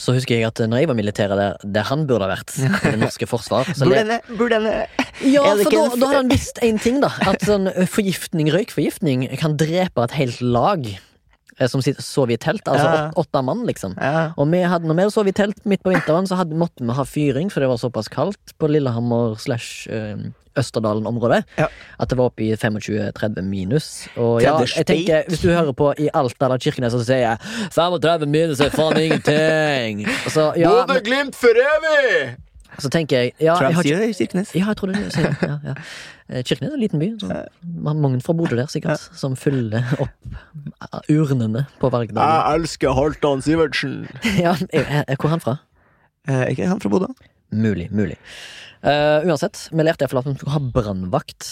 så husker jeg at eh, når jeg var militær der, der han burde ha vært, i det norske forsvar så
Burde
le-
henne, burde henne
Ja,
Er det
for
ikke
da,
en f-
da har han visst én ting, da. At sånn forgiftning, røykforgiftning kan drepe et helt lag eh, som sitter, sov i telt. Altså
Ja.
åt, åtte mann, liksom.
ja.
Og vi hadde, når vi sov i telt midt på vinteren, så hadde, måtte vi ha fyring, for det var såpass kaldt på Lillehammer slash eh, Østerdalen-området.
Ja.
At det var oppe i 25-30 minus. Og ja,
30
jeg tenker, hvis du hører på i Alta eller Kirkenes, så sier jeg 35 minus er faen ingenting! Og så, ja, men,
Bodø-Glimt for evig!
så tenker jeg ja, jeg
Tror
har
jeg sier det i Kirkenes.
ja, jeg tror det. Så, ja, ja. Eh, Kirkenes er en liten by. Så, man- mange fra Bodø der, sikkert, som fyller opp eh, urnene på
Ah.
valgdagen.
elsker Halvdan Sivertsen.
Ja, eh, eh, hvor er han fra?
Er Eh, ikke han fra Bodø?
Mulig, mulig. Eh, uansett, vi lærte iallfall at man skulle ha brannvakt.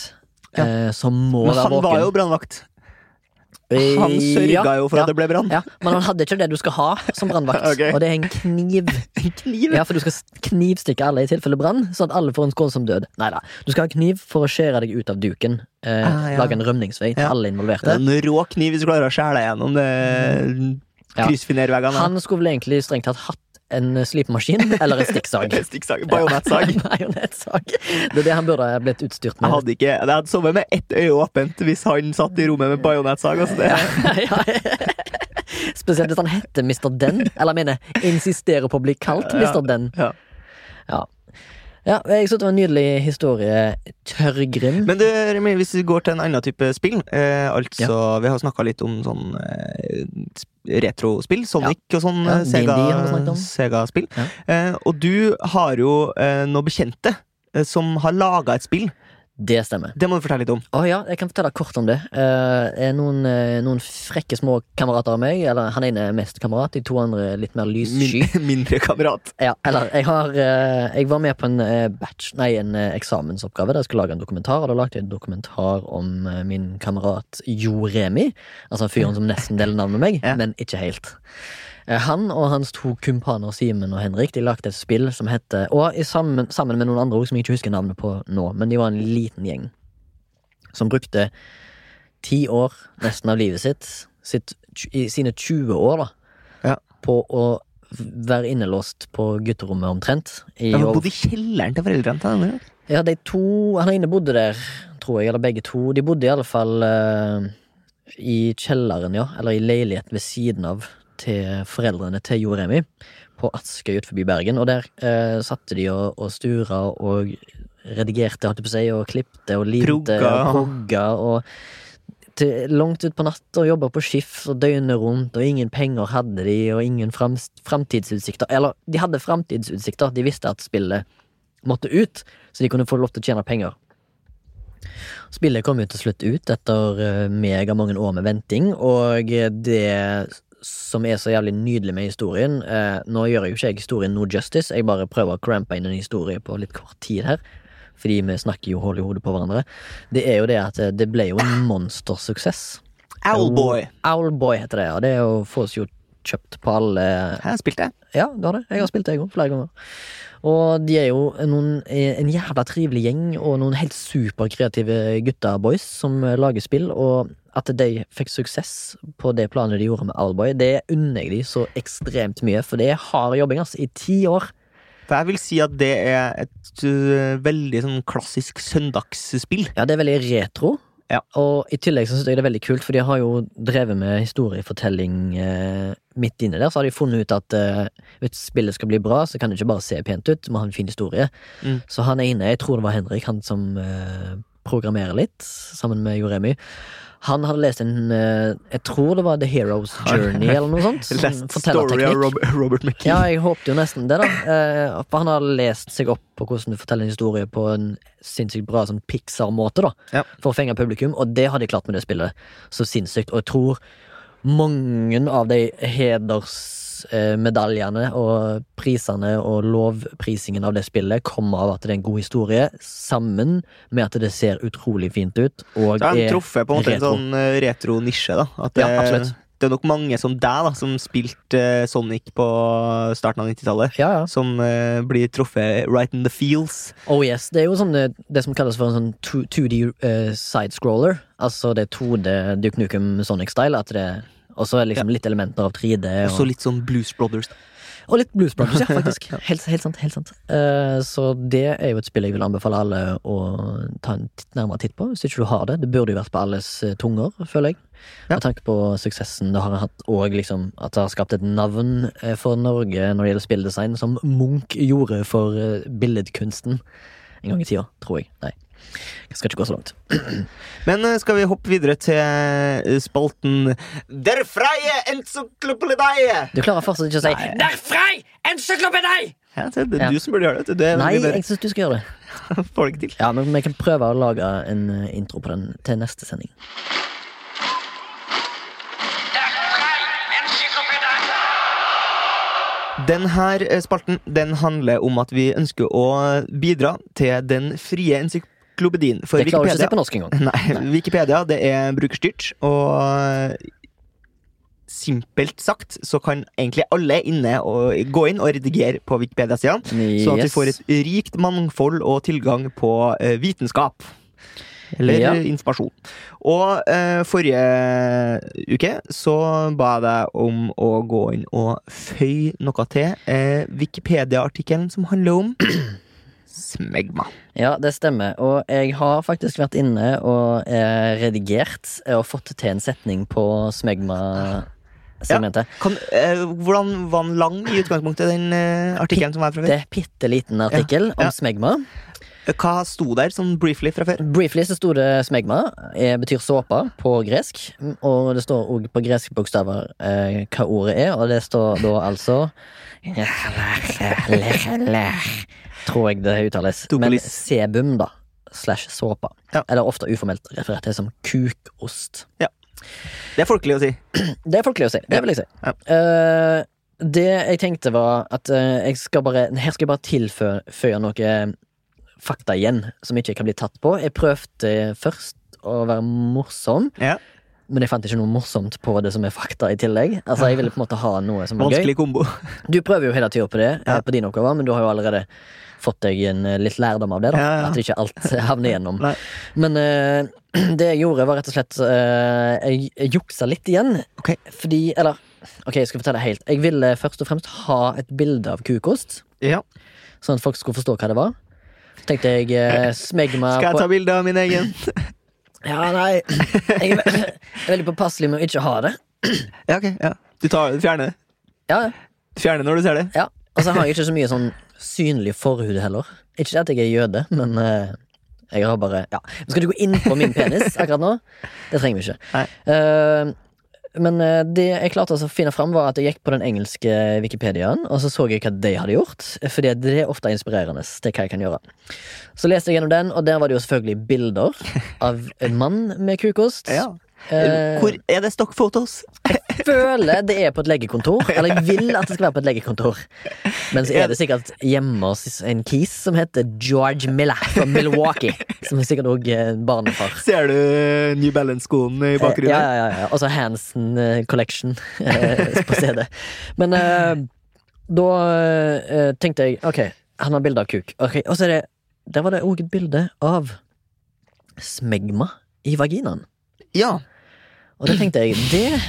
eh, Som må
Men
være
han var jo
våken.
brannvakt.
Eh,
Han sørga jo for
ja,
at det ble brann.
ja, Men han hadde ikke det du skal ha som brannvakt,
Ok.
og det er en kniv.
Kniv.
Ja, for du skal s- knivstikke alle i tilfelle brann, sånn at alle får en skånsom død. Neida, Du skal ha kniv for å skjære deg ut av duken. Eh,
Ah, ja.
Lage en rømningsvei til
Ja.
alle involverte.
Det er en rå kniv hvis du klarer å skjære deg gjennom det
Ja.
kryssfinerveggene.
Han skulle vel egentlig strengt tatt hatt en slipemaskin eller en stikksag.
Stikksag. Bajonettsag.
En Bajonettsag. Det er det han burde ha blitt utstyrt
Jeg
med.
hadde, ikke, jeg hadde sovet med ett øye åpent hvis han satt i rommet med bajonettsag. Altså det.
Ja. Spesielt hvis han heter Mr. Den, eller jeg mener insisterer på å bli kalt Mr. Den.
Ja.
Ja. Ja, jeg synes det var en nydelig historie, Tørrgrim.
Men du, Remi, hvis vi går til en annen type spill eh, Altså, Vi har snakka litt om sånn eh, retrospill. Sonic og sånn
Ja,
eh, Sega-
D&D har vi snakket om.
Sega-spill.
Ja.
eh, og du har jo eh, noen bekjente eh, som har laga et spill.
Det stemmer.
Det må du fortelle litt om.
Å ja, jeg kan fortelle kort om det. Eh, er noen, eh, noen frekke små kamerater av meg, eller han ene er mest kamerat, de to andre er litt mer lyssky.
Min, mindre kamerat.
Ja, eller jeg har eh, Jeg var med på en eh, batch Nei, en eh, eksamensoppgave der jeg skulle lage en dokumentar, og da lagde jeg en dokumentar om eh, min kamerat Jo Remi. Altså fyren som nesten deler navn med meg,
Ja.
men ikke helt. Eh, Han og hans to kumpaner Simen og Henrik De lagde et spill som heter Og i sammen, sammen med noen andre også, som jeg ikke husker navnet på nå, men de var en liten gjeng som brukte ti år, nesten av livet sitt, sitt i sine 20 år, da,
Ja.
på å v- være innelåst på gutterommet omtrent. I
Han
over-
bodde i kjelleren til foreldrene til denne.
ja, de to Han ene bodde der, tror jeg, eller begge to. De bodde i alle fall eh, i kjelleren, ja, eller i leiligheten ved siden av til foreldrene til Jo Remi, på Askøy utenfor Bergen. Og der eh, satte de og, og stura og redigerte, holdt jeg på å si, og klipte og limte
Progga.
og progga og til, langt ut på natta og jobba på skift og døgnet rundt, og ingen penger hadde de, og ingen frams, framtidsutsikter. Eller, de hadde framtidsutsikter, de visste at spillet måtte ut, så de kunne få lov til å tjene penger. Spillet kom jo til slutt ut etter eh, megamange år med venting, og det som er så jævlig nydelig med historien eh, Nå gjør jeg jo ikke jeg historien no justice, jeg bare prøver å crampe inn en historie på litt kort tid her. Fordi vi snakker jo hull i hodet på hverandre. Det er jo det at eh, det ble jo en monstersuksess.
Owlboy.
Owlboy heter det, og det er jo fås jo kjøpt på alle
Her spilte jeg.
ja, det har det. Jeg har spilt det, jeg òg, flere ganger. Og de er jo noen, eh, en jævla trivelig gjeng og noen helt superkreative gutter boys som eh, lager spill. Og at de fikk suksess på det planet de gjorde med Owlboy, det unner jeg de så ekstremt mye. For det er hard jobbing, altså. I ti år.
For jeg vil si at det er et øh, veldig sånn klassisk søndagsspill.
Ja, det er veldig retro.
Ja.
Og i tillegg så synes jeg det er veldig kult, for de har jo drevet med historiefortelling eh, midt inne der. Så har de funnet ut at eh, hvis spillet skal bli bra, så kan det ikke bare se pent ut, du må ha en fin historie.
Mm.
Så han ene, jeg tror det var Henrik, han som eh, programmerer litt, sammen med Joremi. Han hadde lest en eh, Jeg tror det var The Hero's Journey, eller noe sånt. som
Last story
fortellerteknikk.
av Rob Robert McKee.
Ja, jeg håpte jo nesten det, da. Eh, for han har lest seg opp på hvordan du forteller en historie på en sinnssykt bra sånn Pixar-måte, da.
Ja.
For å fenge publikum, og det har de klart med det spillet. Så sinnssykt. Og jeg tror mange av de hedersmedaljene eh, og prisene og lovprisingen av det spillet kommer av at det er en god historie, sammen med at det ser utrolig fint ut. Og
Så har de
er
truffet på en måte en
retro.
sånn øh, retro nisje, da. At det,
Ja, absolutt.
det er nok mange som deg, da, som spilte øh, Sonic på starten av 90-tallet.
ja, ja.
Som øh, blir truffet right in the feels.
Oh yes, Det er jo sånn det, det som kalles for en sånn 2- 2D eh, sidescroller. Altså det er 2D Duke Nukem Sonic-style. at det Og så er det liksom litt elementer av 3D.
Og så
Og,
litt sånn Blues Brothers.
og litt Blues Brothers, ja, faktisk. Helt, helt sant. helt sant Eh, Så det er jo et spill jeg vil anbefale alle å ta en titt, nærmere titt på. Hvis ikke du har det. Det burde jo vært på alles eh, tunger, føler jeg.
Ja.
Med tanke på suksessen det har hatt, og liksom at det har skapt et navn eh, for Norge når det gjelder spilldesign, som Munch gjorde for eh, billedkunsten en gang i tida, tror jeg. Nei, jeg skal ikke gå så langt.
Men øh, skal vi hoppe videre til øh, spalten Der freie encyklopedie!
Du klarer fortsatt ikke å si
Nei.
Der frei! Encyklopedi!
Ja, det det er
Ja.
du som burde gjøre det. vet du. Det er
Nei,
mye bedre.
jeg syns du skal gjøre det.
får det ikke til.
Ja, men vi kan prøve å lage en eh, intro på den til neste sending.
Denne eh, spalten den handler om at vi ønsker å bidra til den frie encyklopedien. For
Det klarer du ikke å si
Wikipedia,
på norsk engang.
nei, Wikipedia det er brukerstyrt, og eh, simpelt sagt så kan egentlig alle inne og, gå inn og redigere på Wikipedia-sidene. Sånn at vi får et rikt mangfold og tilgang på eh, vitenskap. Eller
Ja.
eh, informasjon. Og eh, forrige uke så ba jeg deg om å gå inn og føye noe til eh, Wikipedia-artikkelen som handler om smegma.
Ja, det stemmer. Og jeg har faktisk vært inne og eh, redigert eh, og fått til en setning på smegma-segmentet.
Kan, eh, hvordan var den lang i utgangspunktet, den eh, artikkelen som var fra
Det
før?
er bitte liten artikkel
ja.
om smegma.
Hva sto der sånn briefly fra før?
Briefly så sto det smegma. eh, betyr såpe på gresk. Og det står òg på greske bokstaver eh, hva ordet er, og det står da altså Tror jeg det uttales. Men
Topolis.
sebum, da. Slash såpe.
Ja.
Eller ofte uformelt referert til som kukost.
Det er folkelig å si.
Det er folkelig å si. Det vil jeg si.
Ja.
Eh, det jeg tenkte, var at eh, jeg skal bare, her skal jeg bare tilføye noe eh, fakta igjen som ikke kan bli tatt på. Jeg prøvde først å være morsom,
Ja.
men jeg fant ikke noe morsomt på det som er fakta i tillegg. Altså, Jeg ville på en måte ha noe som var gøy.
Vanskelig kombo.
Du prøver jo hele tida på det, eh,
Ja.
på dine oppgaver, men du har jo allerede fått deg en eh, litt lærdom av det. da
Ja, ja.
At ikke alt havner gjennom.
Nei.
Men eh, det jeg gjorde, var rett og slett eh, Jeg jeg juksa litt igjen.
Ok.
Fordi Eller ok, jeg skal fortelle helt. Jeg ville først og fremst ha et bilde av kukost,
Ja.
sånn at folk skulle forstå hva det var. Så tenkte jeg eh, smegge meg
Skal jeg
på
ta bilde av min egen?
Ja, nei. Jeg er, ve jeg er veldig påpasselig med å ikke ha det.
Ja, ok. Ja. Du tar, du fjerner det.
Ja, ja.
Du fjerner når du ser det.
Ja, og så har jeg ikke så mye sånn synlig forhud heller. Ikke at jeg er jøde, men eh, jeg har bare Ja, men skal du gå inn på min penis akkurat nå? Det trenger vi ikke.
Nei.
Eh, men eh, det jeg klarte altså å finne fram, var at jeg gikk på den engelske Wikipediaen, og så så jeg hva de hadde gjort, fordi det er ofte inspirerende til hva jeg kan gjøre. Så leste jeg gjennom den, og der var det jo selvfølgelig bilder av en mann med kukost.
Ja.
Eh,
Hvor er det stock photos?
føler det er på et legekontor, eller jeg vil at det skal være på et legekontor. Men så er det sikkert hjemme hos en kis som heter George Miller fra Milwaukee. Som er sikkert òg barnefar.
Ser du eh, New Balance-skoen i bakgrunnen?
Ja, ja, ja, ja. Og så Hansen eh, Collection eh, på CD. Men eh, da eh, tenkte jeg ok, han har bilde av kuk. Ok, Og så er det Der var det òg et bilde av smegma i vaginaen.
ja.
Og da tenkte jeg det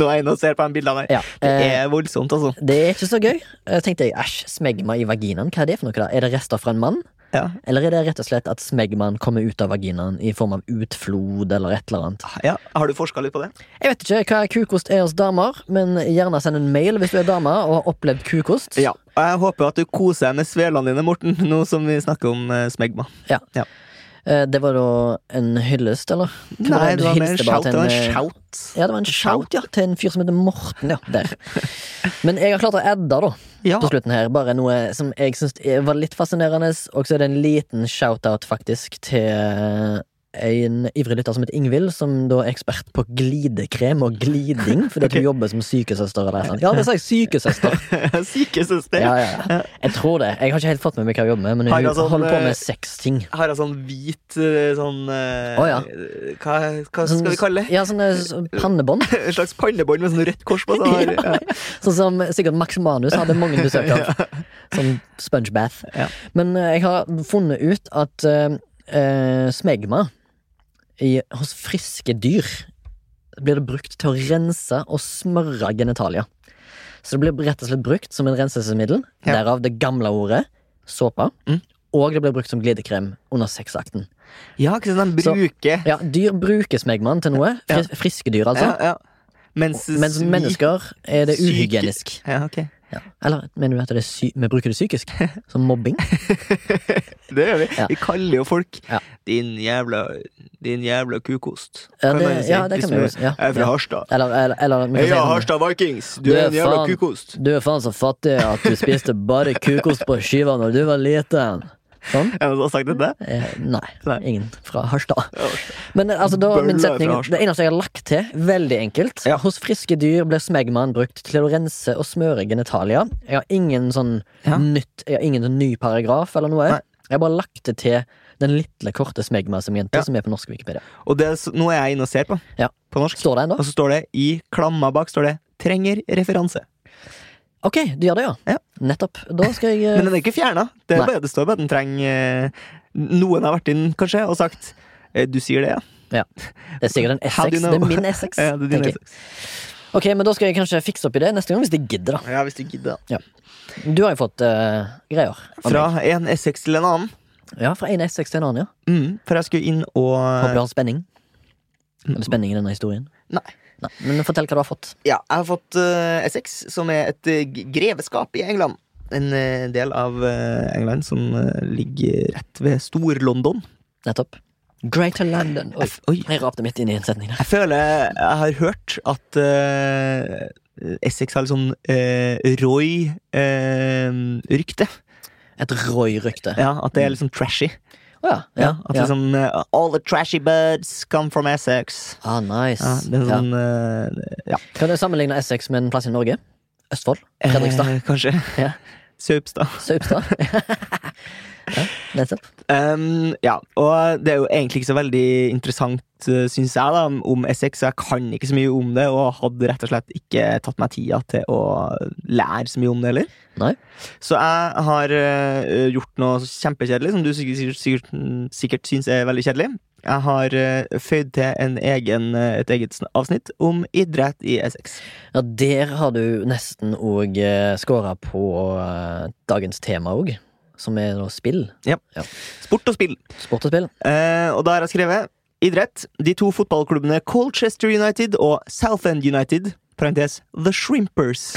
Nå er jeg inne og ser på de bildene her.
ja,
Det
eh,
er voldsomt, altså.
Det er ikke så gøy. Eh, tenkte jeg, æsj, smegma i vaginaen, hva er det for noe da? Er det rester fra en mann?
Ja.
Eller er det rett og slett at smegmaen kommer ut av vaginaen i form av utflod eller et eller annet?
ja. Har du forska litt på det?
Jeg vet ikke hva kukost er hos damer, men gjerne send en mail hvis du er dame og har opplevd kukost.
Og jeg håper at du koser deg med svelene dine, Morten, nå som vi snakker om eh, smegma.
Eh, Det var da en hyllest, eller? Hva
Nei, det var mer
hylleste
en
bare
shout.
til eh,
Det var en shout.
Ja, det var en shout, ja, til en fyr som heter Morten, ja, der. Men jeg har klart å adde, da.
Ja.
på slutten her. Bare noe som jeg syns var litt fascinerende. Og så er det en liten shout-out, faktisk, til eh, en ivrig lytter som heter Ingvild, som da er ekspert på glidekrem og gliding, fordi at hun jobber som sykesøster. Eller noe sånt. Ja, det sa jeg. Sykesøster.
Sykesøster.
Ja, ja, ja. Jeg tror det. Jeg har ikke helt fått med meg hva hun jobber med, men
Har
hun
jeg sånn,
holder på
eh,
med seks ting.
Har jeg sånn hvit eh, sånn eh,
Å, ja.
hva, hva skal vi kalle det?
Sånn Ja, sånne s- pannebånd.
En slags pannebånd med sånn rødt kors på. Sånn her. Ja.
Sånn som sikkert Max Manus hadde mange besøk av. Sånn spongebath.
Ja.
Men eh, jeg har funnet ut at eh, eh, smegma i, hos friske dyr blir det brukt til å rense og smøre genitalia. Så det blir rett og slett brukt som en renselsesmiddel,
Ja.
derav det gamle ordet såpe.
Mm.
Og det blir brukt som glidekrem under sexakten.
ja, ikke sånn de
Så-
bruker
Ja, dyr bruker smegmaen til noe.
Ja.
Fris, friske dyr, altså.
ja, ja. Mens,
Mens
vi-
mennesker er det
Syke-
uhygienisk.
ja, ok.
Ja. Eller mener du at det er sy vi bruker det psykisk? Som mobbing?
Det gjør vi.
Ja.
Vi kaller jo folk
Ja.
din jævla, din jævla kukost.
Ja,
Kan
det,
man jo si,
ja, det
hvis
kan vi
du
jo si. Ja.
Er fra
Ja.
Harstad.
Eller, eller, eller vi kan si
Heia
sånn,
Harstad Vikings! Du
Du
er
er
en jævla
faen-
kukost.
Du er faen så fattig at du spiste bare kukost på skiva når du var liten. Sånn?
Er det noen som har sagt det?
Eh, nei,
Nei.
ingen fra Harstad.
Ja.
Men eh, altså, da,
Bølla
min
er fra
setning,
Harstad.
det eneste jeg har lagt til, veldig enkelt
Ja.
Hos friske dyr blir smegmaen brukt til å rense og smøre genitalia. Jeg har ingen sånn
Ja.
nytt Jeg har ingen sånn ny paragraf eller noe.
Nei.
Jeg har bare lagt det til den lille, korte smegma som jente
Ja.
som er på norsk Wikipedia.
Og det, er så- nå er jeg inne og ser på.
Ja.
På norsk.
Står det ennå?
Og så står det i klamma bak står det 'trenger referanse'.
Ok, du gjør det, ja.
Ja.
Nettopp. Da skal jeg eh,
Men den er ikke fjerna. Det, er
Nei.
bare- det står bare at den trenger eh, Noen har vært inn, kanskje, og sagt eh, 'du sier det', ja.
Det er sikkert en
How do
Essex.
you know?
Det er min Essex.
Ja, det er din
tenker jeg.
Essex.
Ok, men Da skal jeg kanskje fikse opp i det neste gang, hvis jeg gidder.
ja, hvis du gidder. da.
da Du har jo fått eh, greier. av meg.
Fra en Essex til en annen.
Ja, fra en Essex til en annen, ja.
Mm, for jeg skulle inn
Håper
og
du har spenning. Er det spenning i denne historien?
Nei.
Nei. Men fortell hva du har fått.
Ja, jeg har fått eh, Essex, som er et eh, g- greveskap i England. En eh, del av eh, England som eh, ligger rett ved Stor-London.
Nettopp. Greater London. Oi,
F- Oi,
jeg rapte midt inn i en setning der.
Jeg føler jeg har hørt at eh, Essex har litt sånn eh, Roy-rykte.
Et Roy-rykte. Å
ja, at det er litt sånn trashy.
ja. ja,
Ja, at
ja.
liksom eh, All the trashy birds come from Essex.
Ah, nice.
Ja, det er
Ja.
sånn eh, ja.
Kan du sammenligne Essex med en plass i Norge? Østfold? Fredrikstad?
Eh, kanskje.
Ja.
Saupstad.
Saupstad? ja, nettopp.
Um, ja, og det er jo egentlig ikke så veldig interessant, uh, syns jeg, da, om Essex. Jeg kan ikke så mye om det, og hadde rett og slett ikke tatt meg tida til å lære så mye om det heller.
Nei.
Så jeg har uh, gjort noe kjempekjedelig, som du sikkert, sikkert, sikkert, mm, sikkert syns er veldig kjedelig. Jeg har uh, føyd til en egen, uh, et eget sn- avsnitt om idrett i Essex.
Ja, der har du nesten òg eh, scora på eh, dagens tema òg. som er da spill.
Sport og spill.
Sport og spill.
Eh, og da har jeg skrevet idrett. De to fotballklubbene Colchester United og Southend United parentes The Shrimpers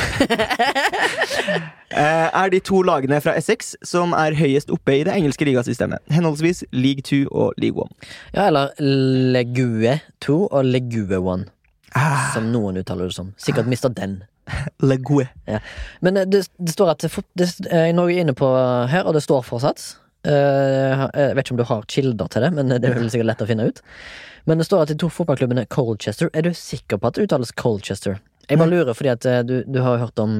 eh, er de to lagene fra Essex som er høyest oppe i det engelske ligasystemet. Henholdsvis League 2 og League 1.
Ja, eller Legue 2 og Legue 1,
Ah,
som noen uttaler det som. Sikkert mista den.
Legue.
Men eh, det, det står at fot- det, eh, Norge er inne på her, og det står fortsatt. Eh, Jeg vet ikke om du har kilder til det, men det er vel sikkert lett å finne ut. Men det står at de to fotballklubbene Colchester Er du sikker på at det uttales Colchester? Jeg bare lurer fordi at eh, du, du har jo hørt om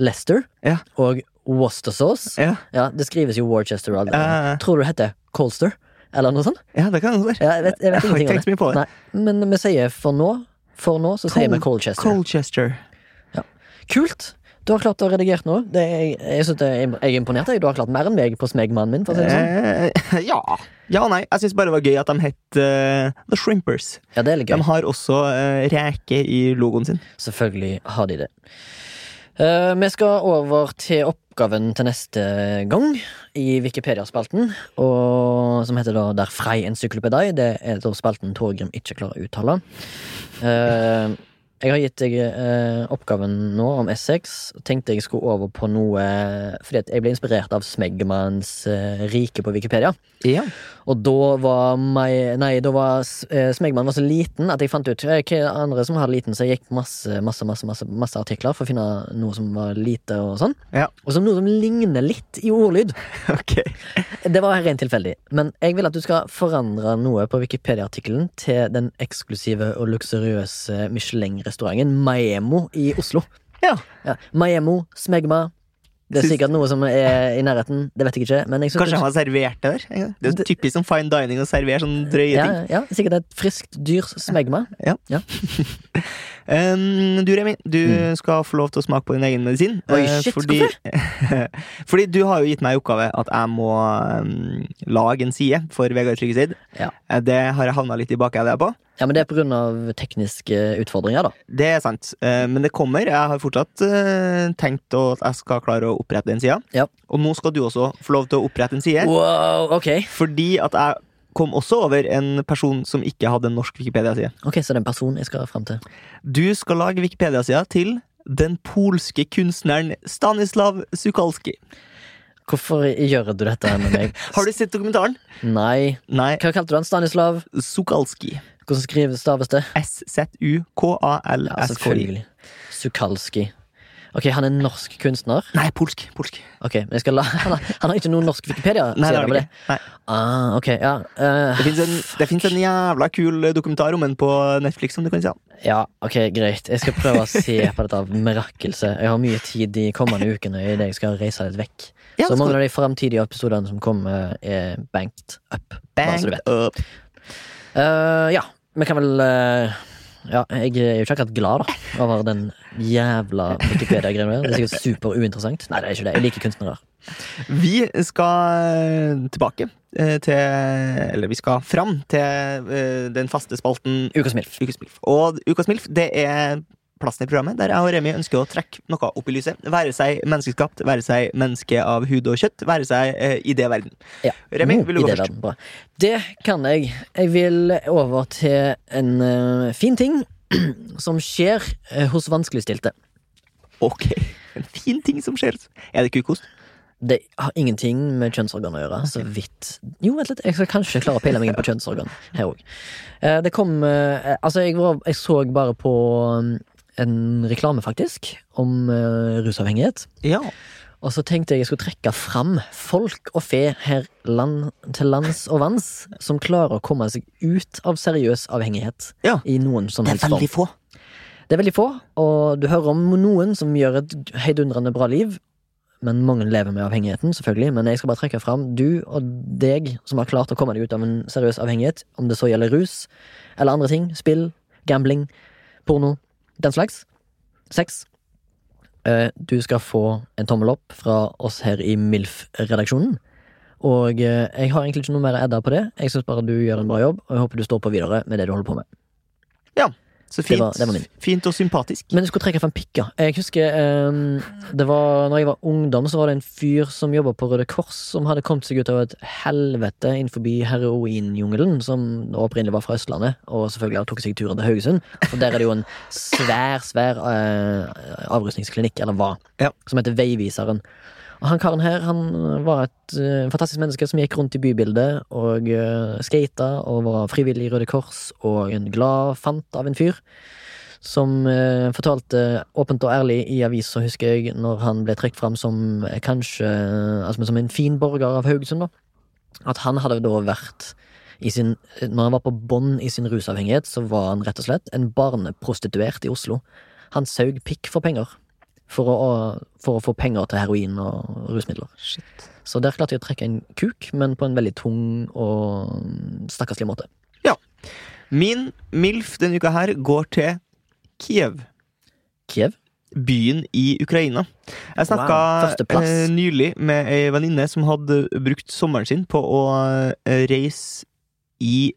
Leicester
Mm. Ja.
og Worcestersauce.
Ja,
Ja, det skrives jo Worcester. og alt det der.
eh,
Tror du det heter Colster? Eller noe sånt?
ja det kan jeg si.
Ja, jeg vet, jeg
Jeg
vet
har
ingenting
ikke
om det.
tenkt så mye på det.
Nei, men vi sier for nå, for nå så sier vi
Eh,
Colchester.
Colchester.
Kult! Du har klart å redigere noe. Det er, jeg, synes det er, jeg er imponert. Jeg. Du har klart mer enn meg på smegmannen min. For å si det sånn.
Eh, ja. ja og nei. Jeg syns bare det var gøy at de het eh, The Shrimpers.
Ja, det er litt
De
gøy.
har også eh, reke i logoen sin.
Selvfølgelig har de det. Eh, vi skal over til oppgaven til neste gang i Wikipedia-spalten. Og Som heter da Der Frei encyklopedi. Det er da spalten Torgrim ikke klarer å uttale. Eh, jeg har gitt deg eh, oppgaven nå om Essex. Tenkte jeg skulle over på noe Fordi at jeg ble inspirert av Smegmans eh, rike på Wikipedia.
Ja.
Og da var, meg, nei, da var S- eh, Smegman var så liten at jeg fant ut eh, hva andre som hadde liten, så jeg gikk masse, masse, masse, masse, masse artikler for å finne noe som var lite og sånn.
Ja.
Og som noe som ligner litt i ordlyd.
Ok.
Det var rent tilfeldig. Men jeg vil at du skal forandre noe på Wikipedia-artikkelen til den eksklusive og luksuriøse Michelin-restauranten Maemo i Oslo.
Ja.
Ja. Maemo, Smegma. Det er
Syns-
sikkert noe som er i nærheten. Det vet jeg ikke. Men jeg synes
Kanskje han har servert det der? en gang? Det er jo typisk som fine dining å servere sånne drøye ting.
ja, ja, sikkert et friskt dyr smegma.
Um, du, Remi, du skal få lov til å smake på din egen medisin.
Oi,
eh,
shit,
fordi, fordi du har jo gitt meg i oppgave at jeg må um, lage en side for Vegard Tryggeseid.
Ja.
Eh, Det har jeg havna litt i bakhodet på.
Ja, men det er på grunn av tekniske utfordringer, da.
Det er sant, eh, men det kommer. Jeg har fortsatt eh, tenkt å- at jeg skal klare å opprette den sida.
Ja.
Og nå skal du også få lov til å opprette en side.
Wow, ok.
Fordi at jeg kom også over en person som ikke hadde en norsk Wikipedia-side.
Ok, Så det er en person jeg skal fram til.
Du skal lage Wikipedia-sida til den polske kunstneren Stanislav Sukalski.
Hvorfor gjør du dette her med meg?
Har du sett dokumentaren?
Nei.
Nei,
Hva kalte du han? Stanislav?
Sukalski.
Hvordan skrives staves det? Ja,
S-Z-U-K-A-L-S-K-I.
selvfølgelig. Sukalski. Ok, Han er en norsk kunstner.
Nei, polsk. Polsk.
Ok, men jeg skal la Han har, han har ikke noen norsk Wikipedia?
Nei, det
sier
har
jeg
det
med
ikke. Nei.
Ah, ok, ja. eh,
Det fins en, det finnes en jævla kul dokumentar om en på Netflix. som du kan se.
ja, ok, greit. Jeg skal prøve å se på dette av merakkelse. Jeg har mye tid de kommende ukene i det jeg skal reise litt vekk.
Ja,
så
skal-
mange av de framtidige episodene som kommer, er banked up. bare så du
Bang
vet.
up.
Eh, ja, vi kan vel eh, Ja, jeg er jo ikke akkurat glad da over den jævla Wikipedia-greia der. Det er sikkert super uinteressant. Nei, det er ikke det. Jeg liker kunstnere.
Vi skal tilbake eh, til Eller vi skal fram til eh, den faste spalten
Ukas MILF.
Ukas MILF. Og Ukas MILF det er plassen i programmet der jeg og Remi ønsker å trekke noe opp i lyset. Være seg menneskeskapt, være seg menneske av hud og kjøtt, være seg eh, idéverden.
Ja. Mm,
Remi, vil du gå
Idéverden,
først?
Bra. Det kan jeg. Jeg vil over til en eh, fin ting som skjer eh, hos vanskeligstilte.
Ok. En fin ting som skjer. Er det kukost?
Det har ingenting med kjønnsorgan å gjøre. Så vidt Jo, vent litt, jeg skal kanskje klare å pille meg inn på kjønnsorgan her òg. Det kom eh, Altså, jeg, var, jeg så bare på mm, en reklame, faktisk, om eh, rusavhengighet.
Ja.
Og så tenkte jeg jeg skulle trekke fram folk og fe her land, til lands og vanns som klarer å komme seg ut av seriøs avhengighet
Ja.
i noen som
Det er
helst form.
veldig få.
Det er veldig få, og du hører om noen som gjør et heidundrende bra liv. Men mange lever med avhengigheten, selvfølgelig. Men jeg skal bare trekke fram du og deg som har klart å komme deg ut av en seriøs avhengighet, om det så gjelder rus eller andre ting. Spill, gambling, porno, den slags. Sex. Eh, Du skal få en tommel opp fra oss her i MILF-redaksjonen. Og eh, jeg har egentlig ikke noe mer å edde på det. Jeg syns bare du gjør en bra jobb, og jeg håper du står på videre med det du holder på med.
Så
Det
fint,
var- det var min.
fint og sympatisk.
Men du skulle trekke frem pikker. Jeg husker eh, det var, når jeg var ungdom, så var det en fyr som jobba på Røde Kors, som hadde kommet seg ut av et helvete innenfor heroinjungelen, som opprinnelig var fra Østlandet, og selvfølgelig tok seg turen til Haugesund. For der er det jo en svær, svær eh, avrusningsklinikk, eller hva,
Ja.
som heter Veiviseren. Og han karen her han var et eh, fantastisk menneske som gikk rundt i bybildet og uh, skata og var frivillig i Røde Kors og en glad fant av en fyr. Som eh, fortalte åpent og ærlig i avisa, husker jeg, når han ble trukket fram som eh, kanskje eh, altså, som en fin borger av Haugesund, da. At han hadde da vært i sin, eh, Når han var på bånn i sin rusavhengighet, så var han rett og slett en barneprostituert i Oslo. Han saug pikk for penger. For å, for å få penger til heroin og rusmidler.
Shit.
Så der klarte jeg å trekke en kuk, men på en veldig tung og mm, stakkarslig måte.
Min MILF denne uka her går til Kiev.
Kiev?
byen i Ukraina. Jeg snakka
Wow, førsteplass.
eh, nylig med ei venninne som hadde brukt sommeren sin på å eh, reise i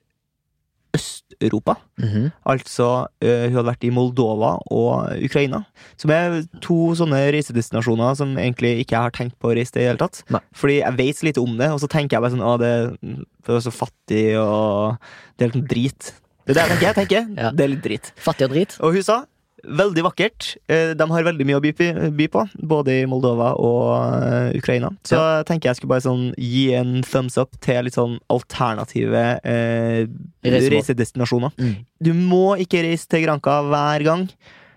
Øst-Europa.
Mhm.
Altså, eh, hun hadde vært i Moldova og Ukraina. Som er to sånne reisedestinasjoner som egentlig ikke jeg har tenkt på å reise til i det hele tatt.
Nei.
Fordi jeg vet så lite om det, og så tenker jeg bare sånn Å, det, det er så fattig, og det er litt sånn drit. Det er det jeg tenker. Jeg tenker.
Ja.
Det er litt drit.
Fattig og drit?
Og hun sa Veldig vakkert. Eh, De har veldig mye å by p- by på, både i Moldova og eh, Ukraina. Så tenker jeg skulle bare sånn gi en thumbs up til litt sånn alternative eh,
Reisemål.
reisedestinasjoner.
Mm.
Du må ikke reise til Granca hver gang.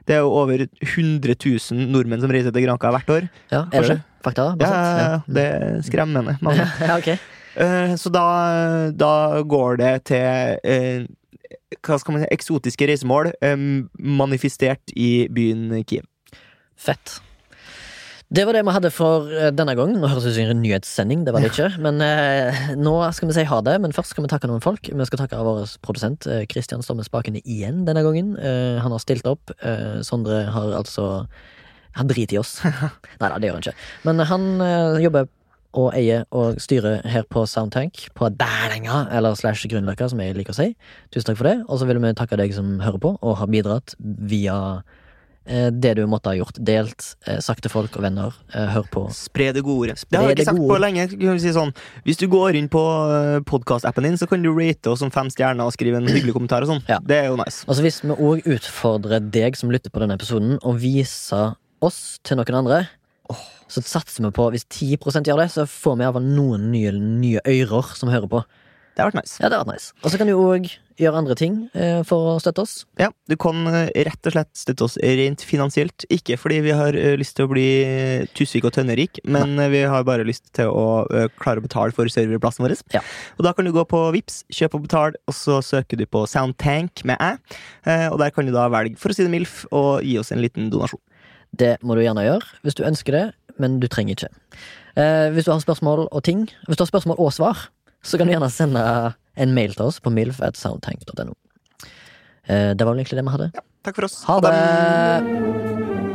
Det er jo over 100 000 nordmenn som reiser til Granca hvert år.
Ja, er det det? Fakta?
Ja,
basert?
ja, ja, det er skremmende. Mange.
ja, ok.
Eh, Så da, da går det til eh, hva skal man si, eksotiske reisemål eh, manifestert i byen Kiev.
Fett. Det var det vi hadde for eh, denne gang. Nå høres det ut som en nyhetssending, det var det ikke. Men eh, nå skal vi si ha det, men først skal vi takke noen folk. Vi skal takke vår produsent eh, Christian Stomme Spaken igjen denne gangen. Eh, han har stilt opp. Eh, Sondre har altså Han driter i oss. Nei da, det gjør han ikke. Men han eh, jobber og eier og styrer her på Soundtank, på Berlinga, eller slash Grünerløkka, som jeg liker å si. Tusen takk for det. Og så vil vi takke deg som hører på, og har bidratt via Eh, det du måtte ha gjort. Delt, eh, sagt til folk og venner. Eh, hør på.
Spre det gode ordet.
Spre
det har jeg
det
ikke sagt
gode.
på lenge. Kan vi si sånn, hvis du går inn på podkast-appen din, så kan du rate oss som fem stjerner og skrive en hyggelig kommentar. og sånn.
Ja.
Det er jo nice.
Altså Hvis vi òg utfordrer deg som lytter på denne episoden, og viser oss til noen andre, så satser vi på Hvis 10 gjør det, så får vi iallfall noen nye, nye ører som hører på.
Det har vært nice.
Ja, det hadde vært nice. Og så kan du òg gjøre andre ting eh, for å støtte oss.
Ja, Du kan eh, rett og slett støtte oss rent finansielt. Ikke fordi vi har eh, lyst til å bli Tusvik og Tønnerik, men eh, vi har bare lyst til å eh, klare å betale for serverplassen vår.
Ja.
Og Da kan du gå på Vips, kjøp og betal, og så søker du på Soundtank med æ. eh, Og der kan du da velge, for å si det MILF, og gi oss en liten donasjon.
Det må du gjerne gjøre hvis du ønsker det, men du trenger ikke. Eh, hvis du har spørsmål og ting Hvis du har spørsmål og svar, så kan du gjerne sende en mail til oss på milf.soundtank.no. Eh, det var vel egentlig det vi hadde.
Takk for oss.
Ha det!